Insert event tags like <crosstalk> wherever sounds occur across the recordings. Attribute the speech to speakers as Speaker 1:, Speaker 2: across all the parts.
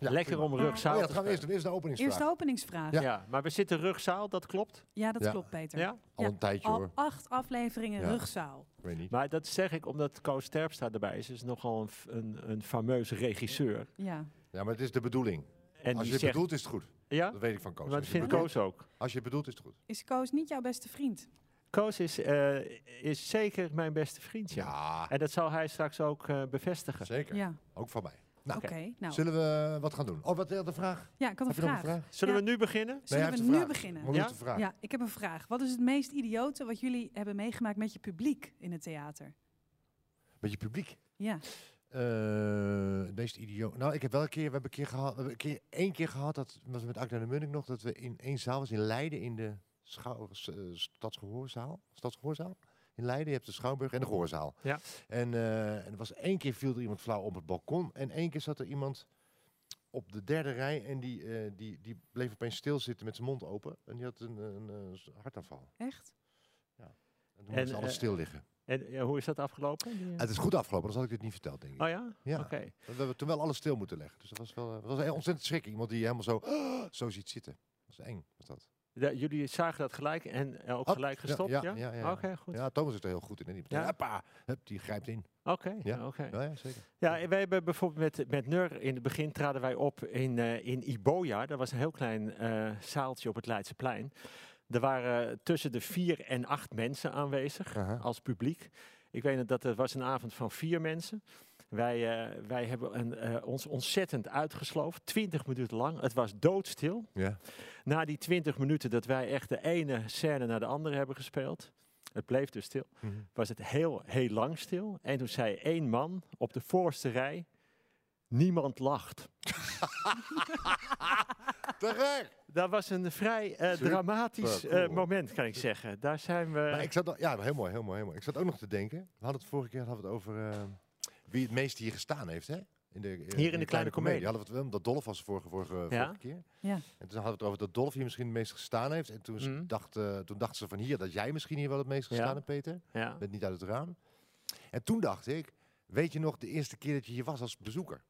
Speaker 1: Lekker om rugzaal
Speaker 2: Oh ja,
Speaker 1: te
Speaker 2: dat gaan we eerst
Speaker 1: spelen.
Speaker 2: doen. Eerst de openingsvraag.
Speaker 3: Eerste openingsvraag.
Speaker 1: Ja.
Speaker 3: Ja,
Speaker 1: maar we zitten rugzaal, dat klopt.
Speaker 3: dat
Speaker 2: Ja.
Speaker 3: klopt, Peter.
Speaker 1: Ja?
Speaker 2: Al een tijdje
Speaker 3: Al
Speaker 2: hoor.
Speaker 3: acht afleveringen
Speaker 2: Ja.
Speaker 3: rugzaal.
Speaker 2: Ik weet niet.
Speaker 1: Maar dat zeg ik omdat Koos Terpstra erbij is. is nogal een, f- een, een fameus regisseur.
Speaker 3: Ja.
Speaker 2: Ja, maar het is de bedoeling. Als
Speaker 1: En die
Speaker 2: je het
Speaker 1: zegt...
Speaker 2: bedoelt, is het goed.
Speaker 1: ja?
Speaker 2: Dat weet ik van Koos.
Speaker 1: Maar dat
Speaker 2: Als je het
Speaker 1: vindt
Speaker 2: bedoelt,
Speaker 1: Koos ook.
Speaker 2: als je het bedoelt, is het goed.
Speaker 3: Is Koos niet jouw beste vriend?
Speaker 1: Koos is, eh, is zeker mijn beste vriend, ja.
Speaker 2: Ja,
Speaker 1: En dat zal hij straks ook eh, bevestigen.
Speaker 2: zeker.
Speaker 3: Ja,
Speaker 2: Ook van mij.
Speaker 3: oké.
Speaker 2: Nou,
Speaker 3: Nou,
Speaker 2: zullen we wat gaan doen? Oh, wat de vraag?
Speaker 3: ja, ik had een
Speaker 2: Heb je nog
Speaker 3: vraag.
Speaker 2: een vraag?
Speaker 1: Zullen
Speaker 3: Ja.
Speaker 1: we nu beginnen?
Speaker 3: Zullen
Speaker 2: hij heeft
Speaker 3: we
Speaker 2: een
Speaker 3: nu
Speaker 2: vraag.
Speaker 3: beginnen?
Speaker 2: Moet
Speaker 1: Ja?
Speaker 2: ja? de vraag.
Speaker 3: Ja, ik heb een vraag. Wat is het meest idiote wat jullie hebben meegemaakt met je publiek in het theater?
Speaker 2: Met je publiek.
Speaker 3: Ja,
Speaker 2: Eh, het meest idioot. Nou, ik heb wel een keer, we hebben een keer gehad, we hebben een keer, één keer gehad, dat was met Akda de Munnik nog, dat we in één zaal was in Leiden in de schouw, s- eh, stadsgehoorzaal, stadsgehoorzaal. In Leiden, je hebt de Schouwburg en de Gehoorzaal.
Speaker 1: Ja.
Speaker 2: En, eh, en er was één keer viel er iemand flauw op het balkon en één keer zat er iemand op de derde rij en die, eh, die, die bleef opeens stilzitten met zijn mond open en die had een, een, eh, s- hartaanval.
Speaker 3: echt?
Speaker 2: En toen
Speaker 1: En,
Speaker 2: moest ze alles
Speaker 1: eh,
Speaker 2: stil liggen.
Speaker 1: En eh, hoe is dat afgelopen? Die, eh?
Speaker 2: het is goed afgelopen, anders had ik dit niet verteld, denk ik.
Speaker 1: Oh ja?
Speaker 2: Ja.
Speaker 1: Oké.
Speaker 2: We hebben toen wel alles stil moeten leggen. Dus dat was wel eh, dat was een ontzettend schrik. Iemand die helemaal zo, <gasps> zo ziet zitten. Dat is eng. Was dat.
Speaker 1: Ja, jullie zagen dat gelijk en eh, ook
Speaker 2: Had- ja,
Speaker 1: gelijk gestopt, ja?
Speaker 2: ja, ja, ja, ja.
Speaker 1: Oké, goed.
Speaker 2: Ja, Thomas is er heel goed in. hè. Die, meteen,
Speaker 1: Ja.
Speaker 2: hoppa, hup, die grijpt in.
Speaker 1: Oké,
Speaker 2: Ja.
Speaker 1: oké.
Speaker 2: Ja, ja, zeker.
Speaker 1: Ja, en wij hebben bijvoorbeeld met, met Nur in het begin traden wij op in, eh, in Iboja. Dat was een heel klein eh, zaaltje op het Leidseplein. Er waren tussen de vier en acht mensen aanwezig
Speaker 2: Aha.
Speaker 1: als publiek. Ik weet nog dat het was een avond van vier mensen. Wij, eh, wij hebben een, eh, ons ontzettend uitgesloofd, twintig minuten lang. Het was doodstil.
Speaker 2: Ja.
Speaker 1: Na die twintig minuten dat wij echt de ene scène naar de andere hebben gespeeld, het bleef dus stil
Speaker 2: Mhm.
Speaker 1: was het heel, heel lang stil. En toen zei één man op de voorste rij, niemand lacht.
Speaker 2: Te gek!
Speaker 1: Dat was een vrij eh,
Speaker 2: Super
Speaker 1: dramatisch eh,
Speaker 2: cool.
Speaker 1: moment, kan ik zeggen. Daar zijn we...
Speaker 2: Maar ik zat, al- ja, heel mooi, heel mooi, heel mooi. Ik zat ook nog te denken. We hadden het vorige keer hadden we het over eh, wie het meest hier gestaan heeft, hè? In de, eh, in
Speaker 1: Kleine Comedie.
Speaker 2: Hadden we het wel, omdat Dolf was de vorige, vorige, vorige keer.
Speaker 3: Ja.
Speaker 2: En toen hadden we het over dat Dolf hier misschien het meest gestaan heeft. En toen,
Speaker 1: Mhm.
Speaker 2: dacht, eh, toen dachten ze van hier dat jij misschien hier wel het meest gestaan
Speaker 1: Ja.
Speaker 2: hebt, Peter.
Speaker 1: ja.
Speaker 2: Met niet uit het raam. En toen dacht ik, weet je nog de eerste keer dat je hier was als bezoeker?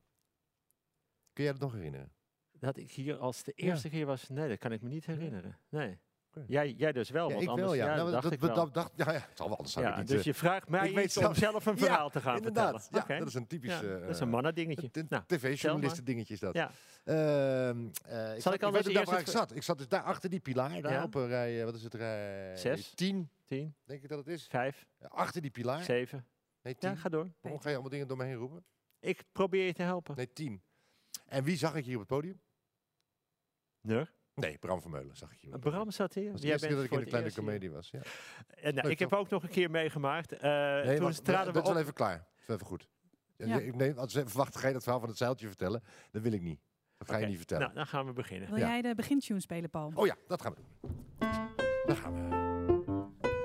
Speaker 2: Kun jij dat nog herinneren?
Speaker 1: Dat ik hier als de
Speaker 2: Ja.
Speaker 1: eerste keer was, nee, dat kan ik me niet herinneren. Nee.
Speaker 2: Oké.
Speaker 1: Jij, jij dus wel,
Speaker 2: ja,
Speaker 1: want
Speaker 2: ik
Speaker 1: anders
Speaker 2: wel, ja.
Speaker 1: ja,
Speaker 2: Nou,
Speaker 1: dat dacht
Speaker 2: dat,
Speaker 1: ik
Speaker 2: dat-
Speaker 1: wel.
Speaker 2: dat dacht, ja, ja, het zal wel, anders zou
Speaker 1: ja,
Speaker 2: ik niet
Speaker 1: dus
Speaker 2: eh,
Speaker 1: je vraagt mij
Speaker 2: ik weet
Speaker 1: iets om
Speaker 2: zelf-
Speaker 1: zelf een
Speaker 2: <laughs> Ja,
Speaker 1: verhaal te gaan
Speaker 2: Inderdaad,
Speaker 1: vertellen.
Speaker 2: ja,
Speaker 1: Oké.
Speaker 2: dat is een typisch...
Speaker 1: Ja,
Speaker 2: eh,
Speaker 1: dat is een mannendingetje.
Speaker 2: een
Speaker 1: Nou,
Speaker 2: TV-journalistendingetje is dat.
Speaker 1: ja.
Speaker 2: Ehm, eh, ik
Speaker 1: Zal
Speaker 2: zat,
Speaker 1: ik
Speaker 2: ik
Speaker 1: alweer
Speaker 2: weet ook daar
Speaker 1: eerst
Speaker 2: waar ik
Speaker 1: het-
Speaker 2: zat. Ik zat dus daar achter die pilaar, daar
Speaker 1: Ja.
Speaker 2: op een rij, eh, wat is het, rij...
Speaker 1: Zes.
Speaker 2: Tien,
Speaker 1: 10,
Speaker 2: denk ik dat het is.
Speaker 1: 5,
Speaker 2: Achter die pilaar.
Speaker 1: 7.
Speaker 2: Nee, tien.
Speaker 1: Ja, ga door.
Speaker 2: Waarom ga je allemaal dingen door me heen roepen?
Speaker 1: Ik probeer je te helpen.
Speaker 2: Nee, tien. En wie zag ik hier op het podium?
Speaker 1: Nur?
Speaker 2: Nee, Bram Vermeulen zag ik hier op het podium.
Speaker 1: Bram zat hier.
Speaker 2: Dat was de
Speaker 1: Jij
Speaker 2: eerste
Speaker 1: bent
Speaker 2: keer dat ik
Speaker 1: voor
Speaker 2: in de
Speaker 1: het
Speaker 2: kleine
Speaker 1: eerst hier.
Speaker 2: comedie was. Ja.
Speaker 1: En, nou,
Speaker 2: Leuk,
Speaker 1: ik heb ook nog een keer meegemaakt. eh, toen
Speaker 2: wacht,
Speaker 1: traden we
Speaker 2: dat is
Speaker 1: op.
Speaker 2: wel even klaar. Dat is wel even goed. Ja,
Speaker 3: Ja.
Speaker 2: je- Nee, als ze verwachten, ga je dat verhaal van het zeiltje vertellen? Dat wil ik niet. Dat ga
Speaker 1: Oké,
Speaker 2: je niet vertellen.
Speaker 1: Nou, dan gaan we beginnen.
Speaker 3: Wil
Speaker 2: Ja.
Speaker 3: jij de begintune spelen, Paul?
Speaker 2: Oh ja, dat gaan we doen. Daar gaan we.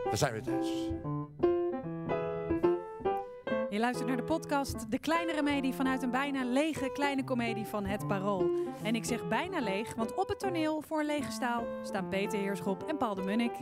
Speaker 2: Daar zijn we thuis.
Speaker 1: Eh,
Speaker 3: Je luistert naar de podcast De Kleine Remedie vanuit een bijna lege kleine komedie van Het Parool. En ik zeg bijna leeg, want op het toneel voor een lege staal staan Peter Heerschop en Paul de Munnik.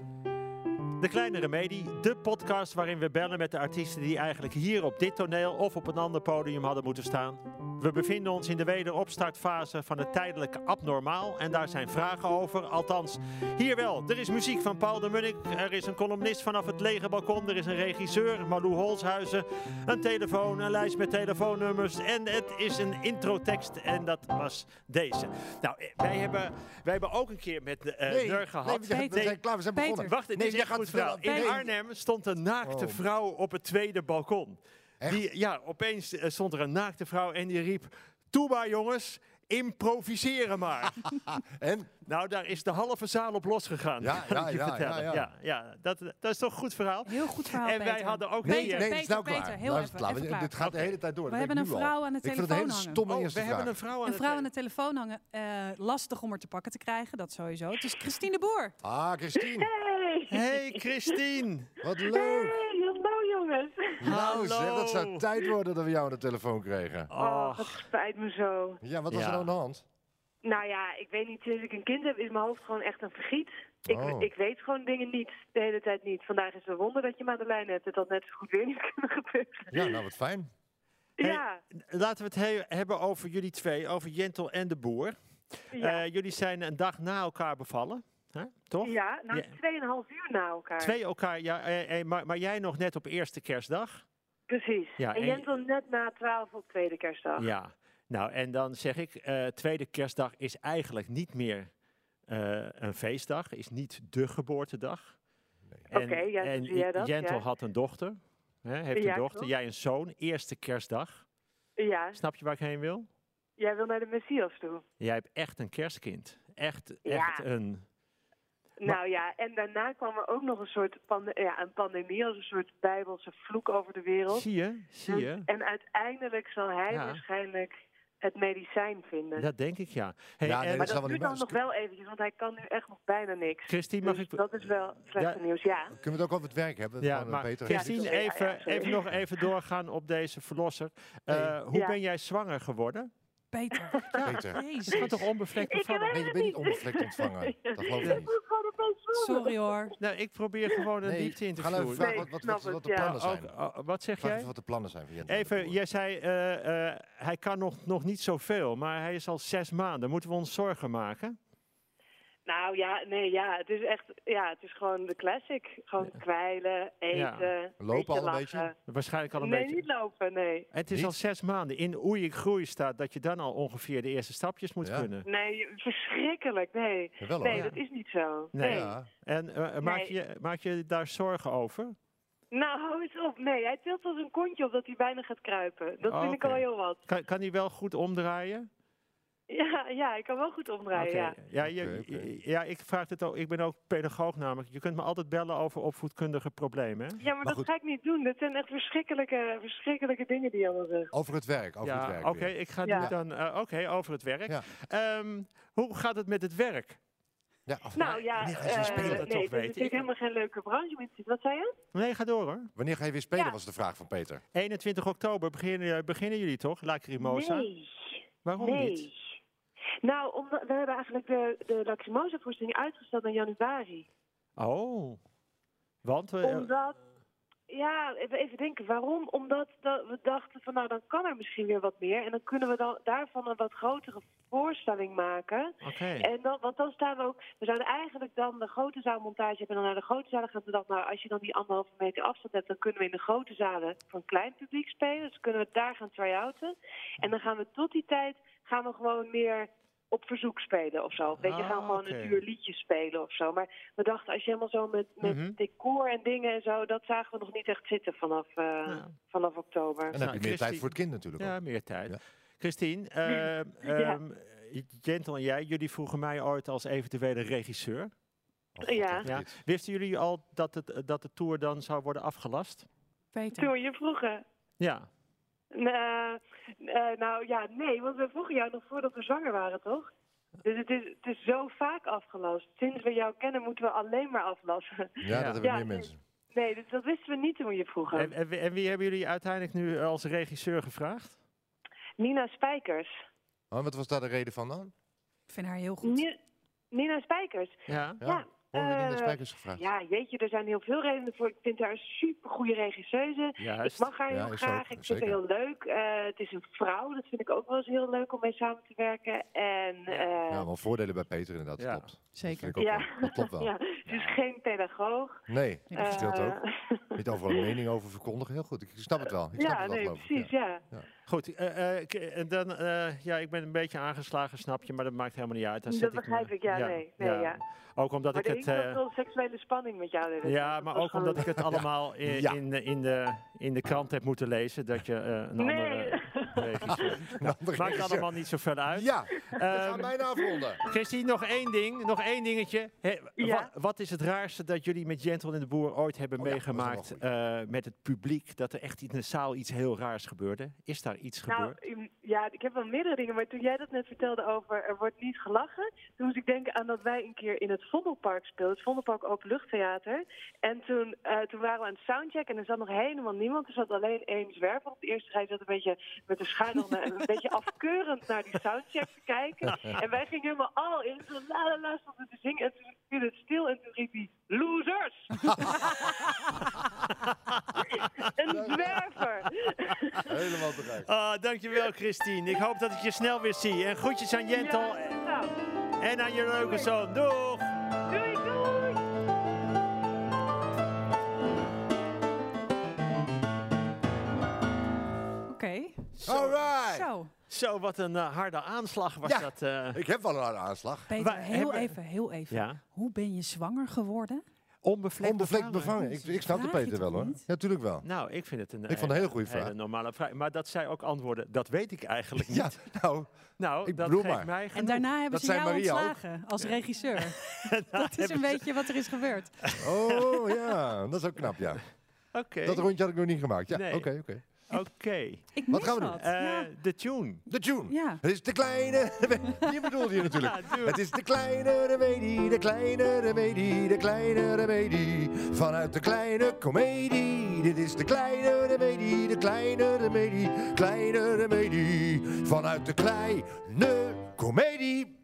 Speaker 1: De Kleine Remedie, de podcast waarin we bellen met de artiesten die eigenlijk hier op dit toneel of op een ander podium hadden moeten staan. We bevinden ons in de wederopstartfase van het tijdelijke abnormaal en daar zijn vragen over. Althans, hier wel. Er is muziek van Paul de Munnik, er is een columnist vanaf het lege balkon, er is een regisseur, Malou Holshuizen, een telefoon, een lijst met telefoonnummers en het is een introtekst en dat was deze. Nou, eh, wij hebben, wij hebben ook een keer met eh Neur gehad.
Speaker 2: we zijn, we
Speaker 1: Nee.
Speaker 2: zijn klaar, we zijn
Speaker 3: Peter.
Speaker 2: begonnen.
Speaker 1: Wacht, dit
Speaker 2: nee,
Speaker 1: is
Speaker 2: jij
Speaker 1: echt
Speaker 2: gaat
Speaker 1: goed verhaal.
Speaker 2: vertellen.
Speaker 1: In
Speaker 3: Nee.
Speaker 1: Arnhem stond een naakte
Speaker 2: Oh.
Speaker 1: vrouw op het tweede balkon.
Speaker 2: Echt?
Speaker 1: Die, ja, opeens eh, stond er een naakte vrouw en die riep... Toe maar jongens, improviseren
Speaker 2: <laughs>
Speaker 1: maar.
Speaker 2: En?
Speaker 1: nou, daar is de halve zaal op losgegaan.
Speaker 2: Ja,
Speaker 1: kan
Speaker 2: ja,
Speaker 1: ik je
Speaker 2: ja,
Speaker 1: vertellen.
Speaker 2: ja, ja.
Speaker 1: ja, dat, dat is toch een goed verhaal.
Speaker 3: Heel goed verhaal,
Speaker 1: en wij
Speaker 3: Peter.
Speaker 1: hadden ook
Speaker 2: Nee,
Speaker 1: weer-
Speaker 2: nee, dat is
Speaker 3: Peter,
Speaker 2: nou
Speaker 3: Peter,
Speaker 2: klaar.
Speaker 3: heel
Speaker 2: Nou is het
Speaker 3: even,
Speaker 2: klaar.
Speaker 3: even
Speaker 2: Dit- Dit
Speaker 3: klaar.
Speaker 2: gaat de hele tijd door.
Speaker 3: We
Speaker 2: dat weet
Speaker 3: hebben
Speaker 2: ik
Speaker 3: een
Speaker 2: nu al.
Speaker 3: vrouw aan de
Speaker 2: Ik vind het een hele
Speaker 3: telefoon hangen.
Speaker 2: stomme
Speaker 1: Oh, we
Speaker 2: eerste
Speaker 1: hebben een
Speaker 2: vraag.
Speaker 1: vrouw aan
Speaker 3: Een
Speaker 1: de
Speaker 3: vrouw aan de
Speaker 1: tele-
Speaker 3: telefoon hangen, eh, lastig om er te pakken te krijgen, dat sowieso. Het is Christine Boer.
Speaker 2: Ah, Christine,
Speaker 4: Hey!
Speaker 1: Hey Christine!
Speaker 2: wat leuk.
Speaker 4: Hey, hallo jongens.
Speaker 2: Nou zeg,
Speaker 1: Hallo.
Speaker 2: dat zou tijd worden dat we jou aan de telefoon kregen.
Speaker 4: Oh,
Speaker 1: Och,
Speaker 4: dat spijt me zo.
Speaker 2: Ja, wat was
Speaker 1: Ja.
Speaker 2: er nou aan de hand?
Speaker 4: Nou ja, ik weet niet, sinds ik een kind heb is mijn hoofd gewoon echt een vergiet. Ik,
Speaker 2: Oh.
Speaker 4: ik weet gewoon dingen niet, de hele tijd niet. Vandaag is het een wonder dat je me aan de lijn hebt. Het had net zo goed weer niet kunnen gebeuren.
Speaker 2: Ja, nou wat fijn.
Speaker 1: Hey,
Speaker 4: ja,
Speaker 1: Laten we het he- hebben over jullie twee, over Jentel en de boer.
Speaker 4: ja.
Speaker 1: Eh, jullie zijn een dag na elkaar bevallen, hè? toch?
Speaker 4: ja, nou,
Speaker 1: ja.
Speaker 4: tweeënhalf uur na elkaar.
Speaker 1: Twee elkaar, ja, eh, eh, maar, maar jij nog net op eerste kerstdag.
Speaker 4: Precies.
Speaker 1: Ja,
Speaker 4: en
Speaker 1: en-
Speaker 4: Jentel net na twaalf op tweede kerstdag.
Speaker 1: Ja, nou en dan zeg ik, eh, tweede kerstdag is eigenlijk niet meer eh, een feestdag, is niet de geboortedag.
Speaker 2: Nee.
Speaker 1: En-
Speaker 4: Oké, ja, zo
Speaker 1: en
Speaker 4: zie jij dat,
Speaker 1: Jentel
Speaker 4: ja.
Speaker 1: had een dochter, hè, heeft
Speaker 4: Ja,
Speaker 1: een dochter,
Speaker 4: klopt.
Speaker 1: jij een zoon, eerste kerstdag.
Speaker 4: Ja,
Speaker 1: Snap je waar ik heen wil?
Speaker 4: jij wil naar de Messias toe.
Speaker 1: Jij hebt echt een kerstkind. Echt,
Speaker 4: Ja.
Speaker 1: echt een... Maar-
Speaker 4: Nou ja, en daarna kwam er ook nog een soort pande- ja, een pandemie, als een soort bijbelse vloek over de wereld.
Speaker 1: Zie je, zie je.
Speaker 4: Hm. En uiteindelijk zal hij
Speaker 1: Ja.
Speaker 4: waarschijnlijk het medicijn vinden.
Speaker 1: Dat denk ik, ja. Hey,
Speaker 2: Ja,
Speaker 1: en-
Speaker 2: nee, dat zal
Speaker 4: maar dat
Speaker 2: wel
Speaker 4: duurt
Speaker 2: niet-
Speaker 4: dan nog wel eventjes, want hij kan nu echt nog bijna niks.
Speaker 1: Christine, mag
Speaker 4: Dus
Speaker 1: ik...
Speaker 4: dat is wel slechte
Speaker 1: Ja.
Speaker 4: nieuws, ja.
Speaker 2: Kunnen we het ook over het werk hebben?
Speaker 1: Ja,
Speaker 2: Gewoon, eh,
Speaker 1: maar
Speaker 2: Peter,
Speaker 1: Christine,
Speaker 4: Ja, sorry.
Speaker 1: even,
Speaker 4: Ja, ja, sorry.
Speaker 1: even nog even doorgaan op deze verlosser. Eh,
Speaker 2: Nee.
Speaker 1: Hoe
Speaker 4: Ja.
Speaker 1: ben jij zwanger geworden?
Speaker 3: Peter.
Speaker 2: Peter.
Speaker 1: Je
Speaker 3: Jezus.
Speaker 1: kan toch onbevlekt
Speaker 4: Ik
Speaker 1: bevallen?
Speaker 4: weet-
Speaker 2: Nee, je bent niet onbevlekt
Speaker 4: <laughs>
Speaker 2: ontvangen. Dat geloof ik niet.
Speaker 3: Sorry hoor.
Speaker 1: Nou, ik probeer gewoon een
Speaker 2: Nee,
Speaker 1: diepte
Speaker 2: ga nou
Speaker 1: interview.
Speaker 2: even vragen
Speaker 4: Nee,
Speaker 2: wat, wat,
Speaker 4: snap
Speaker 2: wat,
Speaker 4: het,
Speaker 2: wat de
Speaker 4: ja.
Speaker 2: plannen zijn.
Speaker 1: Ook- oh, wat zeg
Speaker 2: Vraag even
Speaker 1: jij?
Speaker 2: wat de plannen zijn van Jentel.
Speaker 1: Even, jij zei, eh, eh, hij kan nog, nog niet zoveel, maar hij is al zes maanden. Moeten we ons zorgen maken?
Speaker 4: Nou ja, nee, ja, het is echt, ja, het is gewoon de classic. Gewoon kwijlen, eten,
Speaker 2: Lopen al een
Speaker 4: lachen.
Speaker 2: beetje?
Speaker 1: Waarschijnlijk al een
Speaker 4: nee,
Speaker 1: beetje.
Speaker 4: niet lopen, nee.
Speaker 1: Het is
Speaker 2: Niet?
Speaker 1: al zes maanden. In Oei, ik groei staat dat je dan al ongeveer de eerste stapjes moet
Speaker 2: Ja.
Speaker 1: kunnen.
Speaker 4: Nee, verschrikkelijk, nee.
Speaker 2: Jawel hoor.
Speaker 4: Nee,
Speaker 1: Ja.
Speaker 4: dat is niet zo.
Speaker 1: Nee.
Speaker 4: Nee.
Speaker 2: Ja.
Speaker 1: En eh, maak,
Speaker 4: Nee.
Speaker 1: je, maak je daar zorgen over?
Speaker 4: Nou, hou eens op. Nee, hij tilt al zijn kontje op dat hij bijna gaat kruipen. Dat
Speaker 1: Oh,
Speaker 4: vind ik
Speaker 1: oké.
Speaker 4: al heel wat. <laughs>
Speaker 1: Kan, kan hij wel goed omdraaien?
Speaker 4: Ja, ja, ik kan wel goed omdraaien,
Speaker 1: Oké.
Speaker 4: ja.
Speaker 1: Ja, je-
Speaker 2: Oké, oké.
Speaker 1: je- ja, ik vraag dit ook. Ik ben ook pedagoog namelijk. Je kunt me altijd bellen over opvoedkundige problemen. Hè?
Speaker 4: Ja, maar, dat
Speaker 2: goed.
Speaker 4: ga ik niet doen. Dat zijn echt verschrikkelijke, verschrikkelijke dingen die je allemaal zegt.
Speaker 2: Over het werk, over het
Speaker 1: ja,
Speaker 2: werk.
Speaker 1: oké.
Speaker 2: weer.
Speaker 1: ik ga
Speaker 4: Ja.
Speaker 1: nu dan. eh, oké, over het werk.
Speaker 2: Ja.
Speaker 1: Ehm, hoe gaat het met het werk?
Speaker 2: Ja, of-
Speaker 4: Nou ja,
Speaker 2: wanneer ga je
Speaker 4: eh,
Speaker 2: weer spelen?
Speaker 1: toch
Speaker 4: nee, het is
Speaker 1: weten?
Speaker 4: natuurlijk helemaal geen leuke branche. mensen. Wat zei je?
Speaker 1: Nee, ga door hoor.
Speaker 2: Wanneer ga je weer spelen,
Speaker 4: Ja.
Speaker 2: was de vraag van Peter.
Speaker 1: 21 oktober beginnen, eh, beginnen jullie toch? Lacrimosa?
Speaker 4: Nee,
Speaker 1: Waarom
Speaker 4: nee.
Speaker 1: niet?
Speaker 4: Nou, omdat, we hebben eigenlijk de, de Lacrimosa-voorstelling uitgesteld naar januari.
Speaker 1: Oh. Want eh, we.
Speaker 4: Omdat, ja, even even denken, waarom? Omdat da- we dachten van nou, dan kan er misschien weer wat meer. En dan kunnen we dan daarvan een wat grotere voorstelling maken.
Speaker 1: Oké.
Speaker 4: En dan, want dan staan we ook, we zouden eigenlijk dan de grote zaalmontage hebben en dan naar de grote zalen gaan. Toen dacht ik, nou, als je dan die anderhalve meter afstand hebt, dan kunnen we in de grote zalen voor een klein publiek spelen. Dus kunnen we daar gaan try-outen. En dan gaan we tot die tijd, gaan we gewoon meer op verzoek spelen of zo. Of Weet je,
Speaker 1: Ah,
Speaker 4: gaan we gewoon
Speaker 1: oké.
Speaker 4: een duur liedje spelen of zo. Maar we dachten, als je helemaal zo met, met
Speaker 1: Mhm.
Speaker 4: decor en dingen en zo, dat zagen we nog niet echt zitten vanaf, eh,
Speaker 1: Ja.
Speaker 4: vanaf oktober.
Speaker 2: En dan
Speaker 1: Nou,
Speaker 2: heb je meer tijd
Speaker 1: Christine-
Speaker 2: voor het kind natuurlijk ook.
Speaker 1: Ja, meer tijd.
Speaker 2: Ja.
Speaker 4: <laughs>
Speaker 1: Christine, ehm ehm, Jentel en jij, jullie vroegen mij ooit als eventuele regisseur.
Speaker 2: Oh, God,
Speaker 4: Ja.
Speaker 2: dat
Speaker 1: Ja.
Speaker 2: dit.
Speaker 1: Wisten jullie al dat, het, dat de tour dan zou worden afgelast?
Speaker 3: Peter.
Speaker 4: Toen je vroegen,
Speaker 1: Ja.
Speaker 4: Eh, eh, nou ja, nee, want we vroegen jou nog voordat we zwanger waren, toch? Dus het is, het is zo vaak afgelast. Sinds we jou kennen moeten we alleen maar aflassen. <laughs>
Speaker 2: Ja,
Speaker 1: Ja.
Speaker 2: dat hebben
Speaker 4: Ja,
Speaker 2: meer
Speaker 4: nee.
Speaker 2: mensen.
Speaker 4: Nee, dus dat wisten we niet toen je vroegen.
Speaker 1: En, en wie- en wie hebben jullie uiteindelijk nu eh, als regisseur gevraagd?
Speaker 4: Nina Spijkers.
Speaker 2: Oh, wat was daar de reden van dan?
Speaker 3: Ik vind haar heel goed.
Speaker 4: Ni- Nina Spijkers.
Speaker 1: Ja.
Speaker 4: Ja,
Speaker 2: Waarom hebben we Nina
Speaker 4: eh,
Speaker 2: Spijkers gevraagd?
Speaker 4: Ja, jeetje, er zijn heel veel redenen voor. Ik vind haar een supergoeie regisseuse. Ik
Speaker 1: Juist.
Speaker 4: mag haar
Speaker 2: Ja,
Speaker 4: heel
Speaker 2: is
Speaker 4: graag.
Speaker 2: ook,
Speaker 4: ik vind
Speaker 2: zeker.
Speaker 4: haar heel leuk. Eh, het is een vrouw. Dat vind ik ook wel eens heel leuk om mee samen te werken. En eh,
Speaker 2: Ja, wel voordelen bij Peter inderdaad, dat
Speaker 1: Ja.
Speaker 2: klopt.
Speaker 3: Zeker.
Speaker 2: Dat, vind ik ook
Speaker 4: Ja.
Speaker 2: wel. dat klopt wel.
Speaker 4: ja, ze is geen pedagoog.
Speaker 2: Nee,
Speaker 3: Ik
Speaker 2: dat vertelt
Speaker 4: Eh,
Speaker 2: ook.
Speaker 4: <laughs>
Speaker 2: Niet overal een mening over verkondigen, heel goed. Ik snap het wel. Ik snap
Speaker 4: Ja,
Speaker 2: het wel,
Speaker 4: nee,
Speaker 2: geloof ik.
Speaker 4: precies,
Speaker 2: Ja.
Speaker 4: ja.
Speaker 1: Goed, eh, eh, k- en dan, eh, ja, ik ben een beetje aangeslagen, snap je, maar dat maakt helemaal niet uit. Dan
Speaker 4: Dat
Speaker 1: zet ik me-
Speaker 4: begrijp ik, ja, nee, nee, ja.
Speaker 1: Ook omdat
Speaker 4: Maar
Speaker 1: ik
Speaker 4: er
Speaker 1: het...
Speaker 4: is wel
Speaker 1: eh,
Speaker 4: veel seksuele spanning met jou. Dennis.
Speaker 1: ja,
Speaker 4: Dat
Speaker 1: maar
Speaker 4: was
Speaker 1: ook
Speaker 4: gewoon-
Speaker 1: omdat ik het allemaal i- in,
Speaker 2: Ja.
Speaker 1: de, in, de, in de krant heb moeten lezen, dat je eh, een
Speaker 4: Nee. <laughs>
Speaker 1: andere regisseur...
Speaker 2: Een andere
Speaker 1: Maakt
Speaker 2: regisseur.
Speaker 1: allemaal niet zoveel uit.
Speaker 2: Ja, we
Speaker 1: Ehm,
Speaker 2: gaan bijna afronden.
Speaker 1: Christine, nog één ding, nog één dingetje. Hè,
Speaker 4: Ja.
Speaker 1: wat, wat is het raarste dat jullie met Gentle en de Boer ooit hebben
Speaker 2: Oh ja, dat is wel
Speaker 1: meegemaakt
Speaker 2: een
Speaker 1: eh, met het publiek? Dat er echt in de zaal iets heel raars gebeurde? Is daar iets
Speaker 2: <laughs>
Speaker 4: Nou,
Speaker 1: gebeurd?
Speaker 4: im- ja, ik heb wel meerdere dingen, maar toen jij dat net vertelde over er wordt niet gelachen, toen moest ik denken aan dat wij een keer in het Vondelpark speelden, het Vondelpark Openluchttheater. En toen, eh, toen waren we aan het soundcheck en er zat nog helemaal niemand, er zat alleen één zwerver op de eerste rij, die zat een beetje met de schuin en een beetje afkeurend naar die soundcheck te
Speaker 2: <laughs>
Speaker 4: kijken. En wij gingen helemaal al in. Zo la la la stonden te zingen. En toen viel het stil en toen riep hij: Losers! een zwerver!
Speaker 2: Helemaal bereikt.
Speaker 1: Ah, dankjewel Christine. Ik hoop dat ik je snel weer zie. En groetjes aan Jentel
Speaker 4: Ja, nou,
Speaker 1: en aan je leuke zoon. Doeg!
Speaker 4: doei, doei!
Speaker 3: Oké.
Speaker 2: All right.
Speaker 3: Zo.
Speaker 1: Zo, wat een eh, harde aanslag was
Speaker 2: Ja.
Speaker 1: dat. eh.
Speaker 2: Ik heb wel een harde aanslag.
Speaker 3: Peter,
Speaker 1: Wij
Speaker 3: heel
Speaker 1: hebben-
Speaker 3: even, heel even.
Speaker 1: Ja.
Speaker 3: Hoe ben je zwanger geworden?
Speaker 1: Onbevlekt,
Speaker 2: Onbevlekt bevangen. Ik, ik snap het
Speaker 3: Vraag je
Speaker 2: Peter
Speaker 3: toch
Speaker 2: wel hoor.
Speaker 3: niet?
Speaker 2: Ja, natuurlijk wel.
Speaker 1: Nou, ik vind het een, eh,
Speaker 2: Ik vond een hele goede vraag.
Speaker 1: normale vraag. Maar dat zij ook antwoorden, dat weet ik eigenlijk niet.
Speaker 2: Ja, nou,
Speaker 1: nou,
Speaker 2: ik
Speaker 1: dat
Speaker 2: bedoel
Speaker 1: geeft
Speaker 2: maar.
Speaker 1: mij
Speaker 3: En
Speaker 1: genoeg.
Speaker 3: daarna hebben
Speaker 2: Dat
Speaker 3: ze
Speaker 2: zei
Speaker 3: jou
Speaker 2: Maria ook.
Speaker 3: ontslagen als
Speaker 1: <laughs>
Speaker 3: regisseur. dat is
Speaker 1: hebben
Speaker 3: een
Speaker 1: ze-
Speaker 3: beetje wat er is gebeurd.
Speaker 2: oh ja, dat is ook knap, ja.
Speaker 1: Oké,
Speaker 2: Dat rondje had ik nog niet gemaakt. Ja, oké,
Speaker 1: Nee.
Speaker 2: oké.
Speaker 1: oké.
Speaker 3: Ik
Speaker 2: Wat
Speaker 3: mis
Speaker 2: gaan we doen?
Speaker 3: dat.
Speaker 1: Eh,
Speaker 3: ja.
Speaker 1: De tune.
Speaker 2: De tune.
Speaker 3: Ja.
Speaker 2: Het is de kleine
Speaker 3: <laughs>
Speaker 2: remedie. Die bedoelde je natuurlijk.
Speaker 1: Ja, tuurlijk.
Speaker 2: Het is de kleine remedie, de kleine remedie, de kleine remedie. Vanuit de kleine komedie. Dit is de kleine remedie, de kleine remedie, kleine remedie. Vanuit de kleine komedie.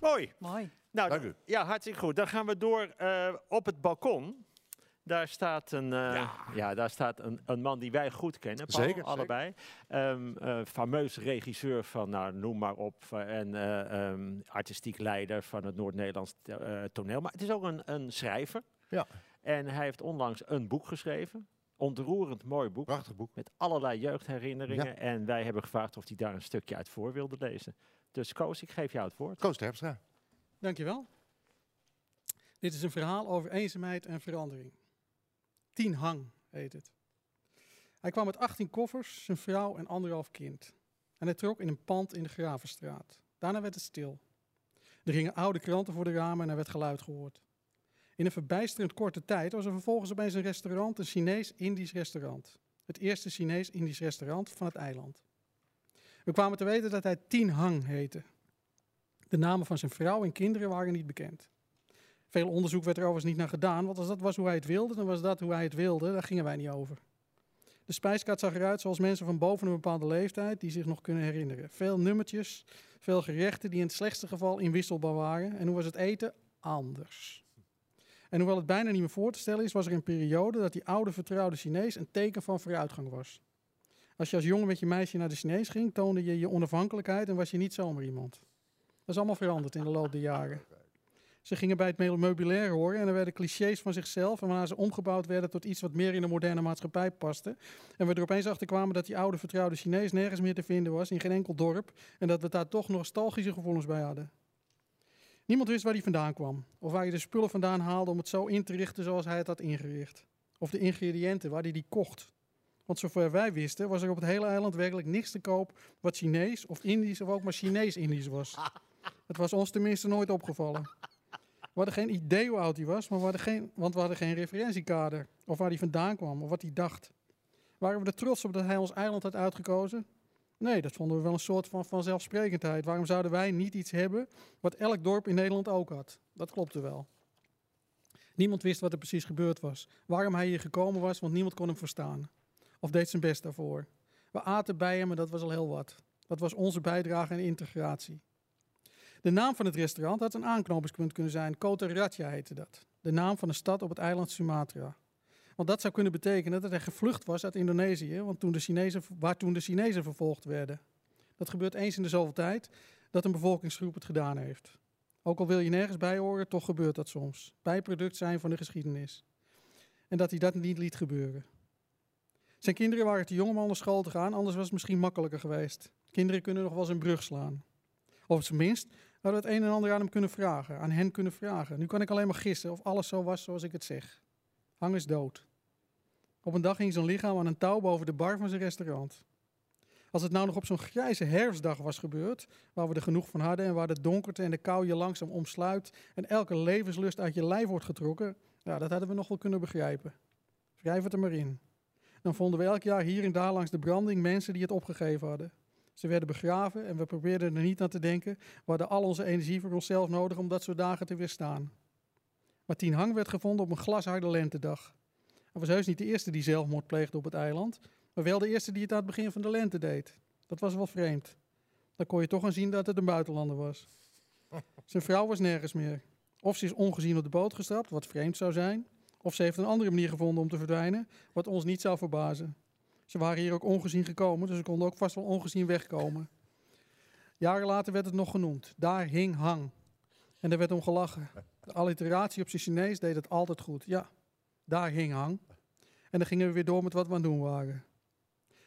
Speaker 1: Mooi.
Speaker 3: Mooi.
Speaker 1: Nou,
Speaker 2: Dank u.
Speaker 1: Ja, hartstikke goed. Dan gaan we door eh, op het balkon. Daar staat een, eh, ja. daar staat een, een man die wij goed kennen, Paul,
Speaker 2: Zeker, zeker.
Speaker 1: allebei. Ehm, eh, fameus regisseur van, nou, noem maar op, eh, en eh, ehm, artistiek leider van het Noord-Nederlands te- eh, toneel. Maar het is ook een, een schrijver.
Speaker 2: Ja.
Speaker 1: En hij heeft onlangs een boek geschreven, ontroerend mooi boek,
Speaker 2: Prachtig boek.
Speaker 1: met allerlei jeugdherinneringen. En wij hebben gevraagd of hij daar een stukje uit voor wilde lezen. Dus Koos, ik geef jou het woord.
Speaker 2: Koos Terpstra.
Speaker 5: Dankjewel. Dit is een verhaal over eenzaamheid en verandering. Tien Hang heet het. Hij kwam met 18 koffers, zijn vrouw en anderhalf kind. En hij trok in een pand in de Gravenstraat. Daarna werd het stil. Er gingen oude kranten voor de ramen en er werd geluid gehoord. In een verbijsterend korte tijd was er vervolgens opeens een restaurant, een Chinees-Indisch restaurant. Het eerste Chinees-Indisch restaurant van het eiland. We kwamen te weten dat hij Tien Hang heette. De namen van zijn vrouw en kinderen waren niet bekend. Veel onderzoek werd er overigens niet naar gedaan, want als dat was hoe hij het wilde, dan was dat hoe hij het wilde, daar gingen wij niet over. De spijskaart zag eruit zoals mensen van boven een bepaalde leeftijd die zich nog kunnen herinneren. Veel nummertjes, veel gerechten die in het slechtste geval inwisselbaar waren. En hoe was het eten? Anders. En hoewel het bijna niet meer voor te stellen is, was er een periode dat die oude vertrouwde Chinees een teken van vooruitgang was. Als je als jongen met je meisje naar de Chinees ging, toonde je je onafhankelijkheid en was je niet zomaar iemand. Dat is allemaal veranderd in de loop der jaren. Ze gingen bij het me- meubilair horen en er werden clichés van zichzelf... en waarna ze omgebouwd werden tot iets wat meer in de moderne maatschappij paste. En we er opeens achter kwamen dat die oude vertrouwde Chinees nergens meer te vinden was... in geen enkel dorp en dat we daar toch nostalgische gevoelens bij hadden. Niemand wist waar hij vandaan kwam of waar hij de spullen vandaan haalde... om het zo in te richten zoals hij het had ingericht. Of de ingrediënten waar hij die kocht. Want zover wij wisten was er op het hele eiland werkelijk niks te koop... wat Chinees of Indisch of ook maar Chinees-Indisch was. Het was ons tenminste nooit opgevallen. We hadden geen idee hoe oud hij was, maar we hadden geen, want we hadden geen referentiekader. Of waar hij vandaan kwam, of wat hij dacht. Waren we er trots op dat hij ons eiland had uitgekozen? Nee, dat vonden we wel een soort van vanzelfsprekendheid. Waarom zouden wij niet iets hebben wat elk dorp in Nederland ook had? Dat klopte wel. Niemand wist wat er precies gebeurd was. Waarom hij hier gekomen was, want niemand kon hem verstaan. Of deed zijn best daarvoor. We aten bij hem en dat was al heel wat. Dat was onze bijdrage aan integratie. De naam van het restaurant had een aanknopingspunt kunnen zijn. Kota Ratja heette dat. De naam van een stad op het eiland Sumatra. Want dat zou kunnen betekenen dat hij gevlucht was uit Indonesië, want toen de Chinezen, waar toen de Chinezen vervolgd werden. Dat gebeurt eens in de zoveel tijd dat een bevolkingsgroep het gedaan heeft. Ook al wil je nergens bij horen, toch gebeurt dat soms. Bijproduct zijn van de geschiedenis. En dat hij dat niet liet gebeuren. Zijn kinderen waren te jong om al naar school te gaan, anders was het misschien makkelijker geweest. Kinderen kunnen nog wel eens een brug slaan. Of op zijn minst we hadden het een en ander aan hem kunnen vragen, aan hen kunnen vragen. Nu kan ik alleen maar gissen of alles zo was zoals ik het zeg. Hang is dood. Op een dag hing zijn lichaam aan een touw boven de bar van zijn restaurant. Als het nou nog op zo'n grijze herfstdag was gebeurd, waar we er genoeg van hadden en waar de donkerte en de kou je langzaam omsluit en elke levenslust uit je lijf wordt getrokken, ja, dat hadden we nog wel kunnen begrijpen. Schrijf het er maar in. Dan vonden we elk jaar hier en daar langs de branding mensen die het opgegeven hadden. Ze werden begraven en we probeerden er niet aan te denken, we hadden al onze energie voor onszelf nodig om dat soort dagen te weerstaan. Martien Hang werd gevonden op een glasharde lentedag. Hij was heus niet de eerste die zelfmoord pleegde op het eiland, Maar wel de eerste die het aan het begin van de lente deed. Dat was wel vreemd. Dan kon je toch aan zien dat het een buitenlander was. Zijn vrouw was nergens meer. Of ze is ongezien op de boot gestapt, wat vreemd zou zijn. Of ze heeft een andere manier gevonden om te verdwijnen, wat ons niet zou verbazen. Ze waren hier ook ongezien gekomen, dus ze konden ook vast wel ongezien wegkomen. Jaren later werd het nog genoemd. Daar hing Hang. En er werd om gelachen. De alliteratie op zijn Chinees deed het altijd goed. Ja, daar hing Hang. En dan gingen we weer door met wat we aan het doen waren.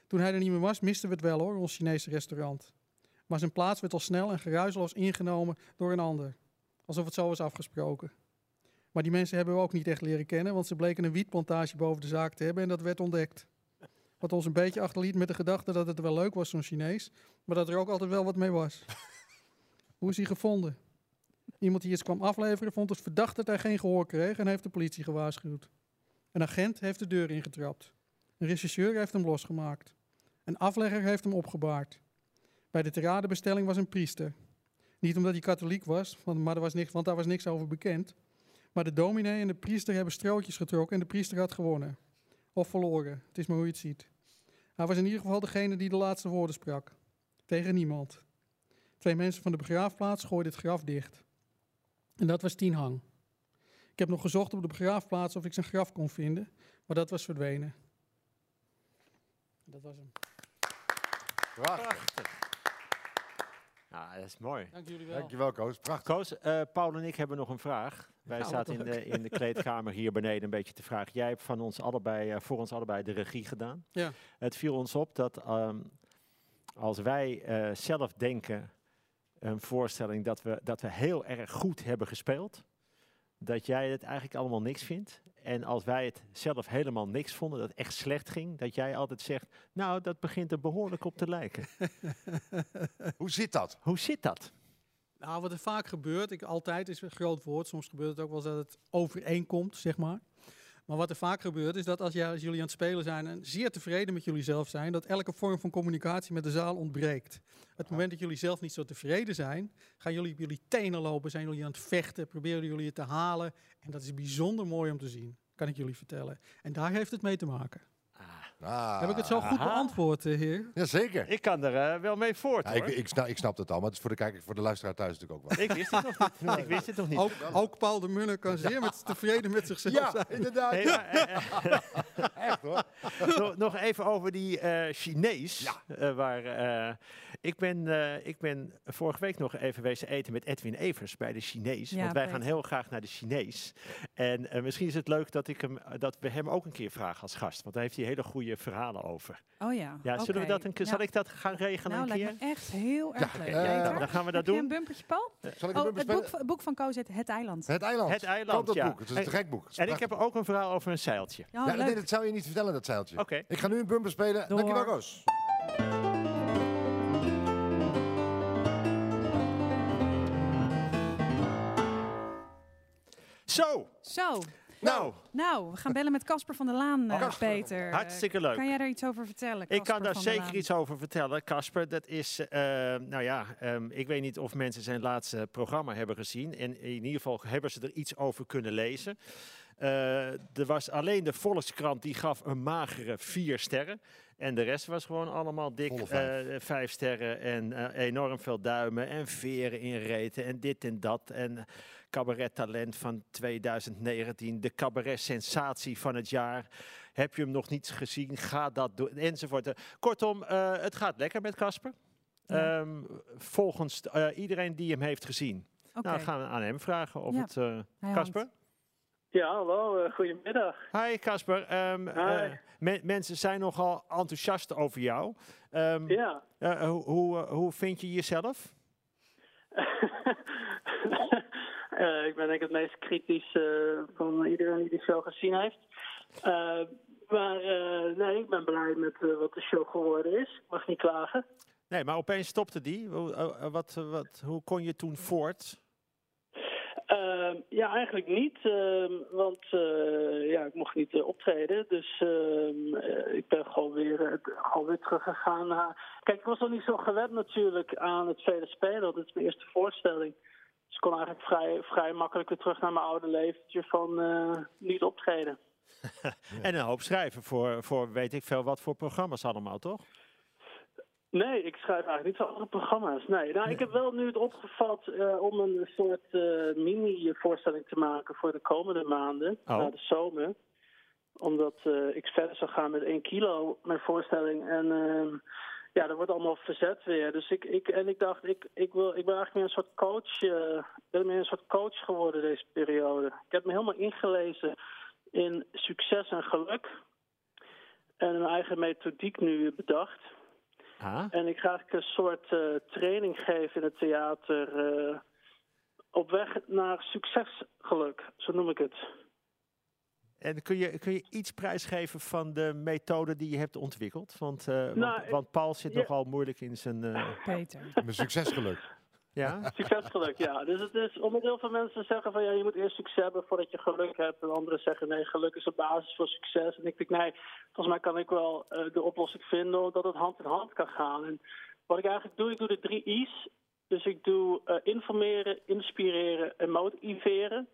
Speaker 5: Toen hij er niet meer was, misten we het wel hoor, ons Chinese restaurant. Maar zijn plaats werd al snel en geruisloos ingenomen door een ander. Alsof het zo was afgesproken. Maar die mensen hebben we ook niet echt leren kennen, want ze bleken een wietplantage boven de zaak te hebben en dat werd ontdekt. Wat ons een beetje achterliet met de gedachte dat het wel leuk was, zo'n Chinees, maar dat er ook altijd wel wat mee was. Hoe is hij gevonden? Iemand die iets kwam afleveren vond het verdacht dat hij geen gehoor kreeg en heeft de politie gewaarschuwd. Een agent heeft de deur ingetrapt. Een rechercheur heeft hem losgemaakt. Een aflegger heeft hem opgebaard. Bij de teradebestelling was een priester. Niet omdat hij katholiek was, want, maar er was niks, want daar was niks over bekend. Maar de dominee en de priester hebben strootjes getrokken en de priester had gewonnen. Of verloren, het is maar hoe je het ziet. Hij was in ieder geval degene die de laatste woorden sprak. Tegen niemand. Twee mensen van de begraafplaats gooiden het graf dicht. En dat was Tien Hang. Ik heb nog gezocht op de begraafplaats of ik zijn graf kon vinden, maar dat was verdwenen. Dat was hem.
Speaker 2: Prachtig.
Speaker 1: Ja, Ah, dat is mooi.
Speaker 5: Dank jullie wel.
Speaker 2: Dankjewel, Koos. Prachtig.
Speaker 1: Koos, eh, Paul en ik hebben nog een vraag. Wij
Speaker 5: Nou,
Speaker 1: zaten in
Speaker 5: wat
Speaker 1: de, in de kleedkamer hier beneden een beetje te vragen. Jij hebt van ons allebei, eh, voor ons allebei de regie gedaan.
Speaker 5: Ja.
Speaker 1: Het viel ons op dat ehm, als wij eh, zelf denken een voorstelling dat we, dat we heel erg goed hebben gespeeld, dat jij het eigenlijk allemaal niks vindt. En als wij het zelf helemaal niks vonden, dat het echt slecht ging, dat jij altijd zegt, nou, dat begint er behoorlijk op te lijken.
Speaker 2: Hoe zit dat?
Speaker 1: Hoe zit dat?
Speaker 5: Nou, wat er vaak gebeurt, ik, altijd is een groot woord, soms gebeurt het ook wel eens dat het overeenkomt, zeg maar. Maar wat er vaak gebeurt is dat als, jij, als jullie aan het spelen zijn en zeer tevreden met jullie zelf zijn, dat elke vorm van communicatie met de zaal ontbreekt. Het moment dat jullie zelf niet zo tevreden zijn, gaan jullie op jullie tenen lopen, zijn jullie aan het vechten, proberen jullie het te halen. En dat is bijzonder mooi om te zien, kan ik jullie vertellen. En daar heeft het mee te maken.
Speaker 2: Ah,
Speaker 5: Heb ik het zo goed
Speaker 1: Aha.
Speaker 5: beantwoord, eh, heer?
Speaker 2: Jazeker.
Speaker 1: Ik kan er eh, wel mee voort,
Speaker 2: Ja,
Speaker 1: hoor.
Speaker 2: ik, ik, snap, ik snap dat al, maar het is voor de, kijker, voor de luisteraar thuis natuurlijk ook wel.
Speaker 1: Ik wist het nog <laughs> niet. Ik wist het nog niet.
Speaker 5: Ook, ook Paul de Munner kan zeer
Speaker 1: <laughs>
Speaker 5: met, tevreden met <laughs> zichzelf zijn.
Speaker 2: inderdaad.
Speaker 1: Hey, maar, eh, eh,
Speaker 2: Echt hoor.
Speaker 1: nog- nog even over die eh, Chinees. eh, waar, eh, ik, ben, eh, ik ben vorige week nog even wezen eten met Edwin Evers bij de Chinees.
Speaker 3: Ja,
Speaker 1: want wij
Speaker 3: Peter.
Speaker 1: gaan heel graag naar de Chinees. En eh, misschien is het leuk dat, ik hem, dat we hem ook een keer vragen als gast. Want daar heeft hij hele goede verhalen over.
Speaker 3: Oh ja.
Speaker 1: Ja, zullen we
Speaker 3: oké.
Speaker 1: dat een keer,
Speaker 3: Ja.
Speaker 1: zal ik dat gaan regelen
Speaker 3: Nou,
Speaker 1: een keer?
Speaker 3: lijkt me echt heel erg leuk.
Speaker 2: eh,
Speaker 3: Peter?
Speaker 1: Nou, dan gaan we dat
Speaker 3: Heb je
Speaker 1: doen.
Speaker 3: een bumpertje, Paul?
Speaker 2: Zal ik hem
Speaker 3: Oh, het
Speaker 2: bespelen?
Speaker 3: boek, het boek van Koos heet Het Eiland.
Speaker 2: Het eiland.
Speaker 1: Het eiland,
Speaker 2: Koop dat
Speaker 1: ja.
Speaker 2: boek. Het is een
Speaker 1: En-
Speaker 2: te gek boek. Het is
Speaker 1: En ik heb
Speaker 2: prachtig.
Speaker 1: ook een verhaal over een zeiltje.
Speaker 3: Ja,
Speaker 2: Ja,
Speaker 3: leuk.
Speaker 2: nee, dat zou je niet vertellen, dat zeiltje.
Speaker 1: Oké.
Speaker 2: Ik ga nu een bumper spelen.
Speaker 3: Door.
Speaker 2: Dankjewel, Koos.
Speaker 1: Zo,
Speaker 3: Zo,
Speaker 1: nou,
Speaker 3: nou, we gaan bellen met Casper van der Laan, eh,
Speaker 2: Casper.
Speaker 3: Peter. Eh,
Speaker 1: hartstikke leuk.
Speaker 3: Kan jij daar iets over vertellen?
Speaker 1: Ik kan
Speaker 3: Casper
Speaker 1: daar
Speaker 3: van der
Speaker 1: zeker
Speaker 3: Laan?
Speaker 1: iets over vertellen, Casper. Dat is, eh, nou ja, ehm, ik weet niet of mensen zijn laatste programma hebben gezien. En in ieder geval hebben ze er iets over kunnen lezen. Eh, er was alleen de Volkskrant die gaf een magere vier sterren. En de rest was gewoon allemaal dik
Speaker 2: Volle
Speaker 1: eh,
Speaker 2: vijf.
Speaker 1: vijf. sterren. En eh, enorm veel duimen en veren in reten en dit en dat. En cabaret talent van 2019. De cabaret sensatie van het jaar. Heb je hem nog niet gezien? Ga dat doen. Enzovoort. Eh, Kortom, eh, het gaat lekker met Casper.
Speaker 3: Ja.
Speaker 1: Ehm, volgens eh, iedereen die hem heeft gezien.
Speaker 3: Oké.
Speaker 1: Nou, gaan we aan hem vragen of
Speaker 3: Ja.
Speaker 1: het... eh,
Speaker 3: Hij
Speaker 1: Casper?
Speaker 3: hangt.
Speaker 6: Ja, hallo, eh, goedemiddag.
Speaker 1: Hi Casper. Ehm, eh, me- mensen zijn nogal enthousiast over jou. Ehm,
Speaker 6: Ja.
Speaker 1: eh, hoe, hoe, eh, hoe vind je jezelf?
Speaker 6: Eh, ik ben denk ik het meest kritisch eh, van iedereen die de show gezien heeft. Eh, maar eh, nee, ik ben blij met eh, wat de show geworden is. Ik mag niet klagen.
Speaker 1: Nee, maar opeens stopte die. Hoe, eh, eh, wat, eh, wat, hoe kon je toen voort?
Speaker 6: Ehm, ja, eigenlijk niet. ehm, want eh, ja, ik mocht niet eh, optreden. Dus ehm, eh, ik ben gewoon weer, eh, gewoon weer teruggegaan. naar- Kijk, ik was nog niet zo gewend natuurlijk aan het vele spelen. want Dit is mijn eerste voorstelling. Dus ik kon eigenlijk vrij, vrij makkelijk weer terug naar mijn oude leventje van eh, niet optreden.
Speaker 1: En een hoop schrijven voor, voor weet ik veel wat voor programma's allemaal, toch?
Speaker 6: Nee, ik schrijf eigenlijk niet voor andere programma's. Nee, nou, ik heb wel nu het opgevat eh, om een soort eh, mini-voorstelling te maken voor de komende maanden,
Speaker 1: Oh.
Speaker 6: na de zomer. Omdat eh, ik verder zou gaan met 1 kilo, mijn voorstelling. En ehm, ja, dat wordt allemaal verzet weer. Dus ik, ik, en ik dacht, ik, ik, wil, ik ben eigenlijk meer een soort coach, eh, ik ben meer een soort coach geworden deze periode. Ik heb me helemaal ingelezen in succes en geluk. En een eigen methodiek nu bedacht.
Speaker 1: Ah,
Speaker 6: En ik ga eigenlijk een soort eh, training geven in het theater. eh, op weg naar succesgeluk, zo noem ik het.
Speaker 1: en kun je, kun je iets prijsgeven van de methode die je hebt ontwikkeld? Want, eh, want-
Speaker 6: Nou,
Speaker 1: want,
Speaker 6: ik-
Speaker 1: Paul zit
Speaker 6: ja.
Speaker 1: nogal moeilijk in zijn... eh,
Speaker 3: Peter.
Speaker 2: Mijn succesgeluk.
Speaker 1: ja?
Speaker 6: <laughs> Succesgeluk, ja. Dus het is omdat heel veel mensen zeggen van ja, je moet eerst succes hebben voordat je geluk hebt. En anderen zeggen nee, geluk is de basis voor succes. En ik denk nee, volgens mij kan ik wel eh, de oplossing vinden dat het hand in hand kan gaan. En wat ik eigenlijk doe, ik doe de drie I's. Dus ik doe eh, informeren, inspireren en motiveren.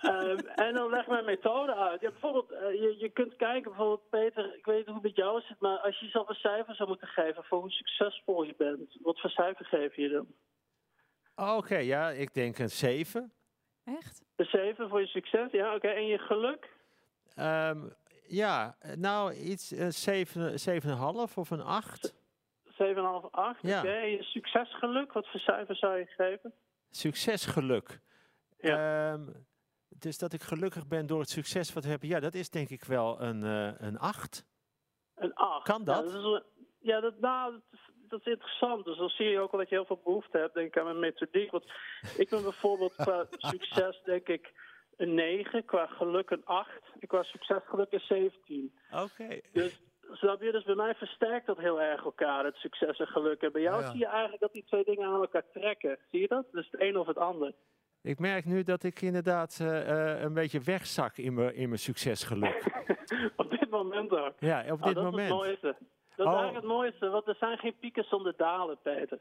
Speaker 6: Ehm, en dan leg mijn methode uit. Ja, bijvoorbeeld, eh, je, je kunt kijken, bijvoorbeeld Peter, ik weet niet hoe het met jou zit, maar als je jezelf een cijfer zou moeten geven voor hoe succesvol je bent, wat voor cijfer geef je dan?
Speaker 1: Oh, Oké, ja, ik denk een 7.
Speaker 3: Echt?
Speaker 6: Een 7 voor je succes, ja, oké. En je geluk?
Speaker 1: Ehm, ja, eh, nou iets eh, zeven 7,5 of een 8.
Speaker 6: 7,5, 8.
Speaker 1: Ja.
Speaker 6: Oké, en je succesgeluk, wat voor cijfer zou je geven?
Speaker 1: Succesgeluk.
Speaker 6: Ja.
Speaker 1: Ehm, dus dat ik gelukkig ben door het succes wat we hebben. Ja, dat is denk ik wel een, eh een 8.
Speaker 6: Een 8.
Speaker 1: Kan dat?
Speaker 6: Ja, is een- ja, dat, nou, dat, dat is interessant. Dus dan zie je ook al dat je heel veel behoefte hebt, denk ik, aan mijn methodiek. Want ik ben bijvoorbeeld qua succes, denk ik, een 9, qua geluk een 8 en qua succesgeluk een 17.
Speaker 1: Oké.
Speaker 6: Dus snap je, dus bij mij versterkt dat heel erg elkaar, het succes en geluk. En bij jou
Speaker 2: Ja.
Speaker 6: zie je eigenlijk dat die twee dingen aan elkaar trekken. Zie je dat? Dus het een of het ander.
Speaker 1: Ik merk nu dat ik inderdaad eh, eh, een beetje wegzak in mijn in mijn succesgeluk.
Speaker 6: Op dit moment ook.
Speaker 1: ja, op
Speaker 6: Ah,
Speaker 1: dit
Speaker 6: dat is het
Speaker 1: moment.
Speaker 6: mooiste. Dat
Speaker 1: Oh.
Speaker 6: is eigenlijk het mooiste, want er zijn geen pieken zonder dalen, Peter.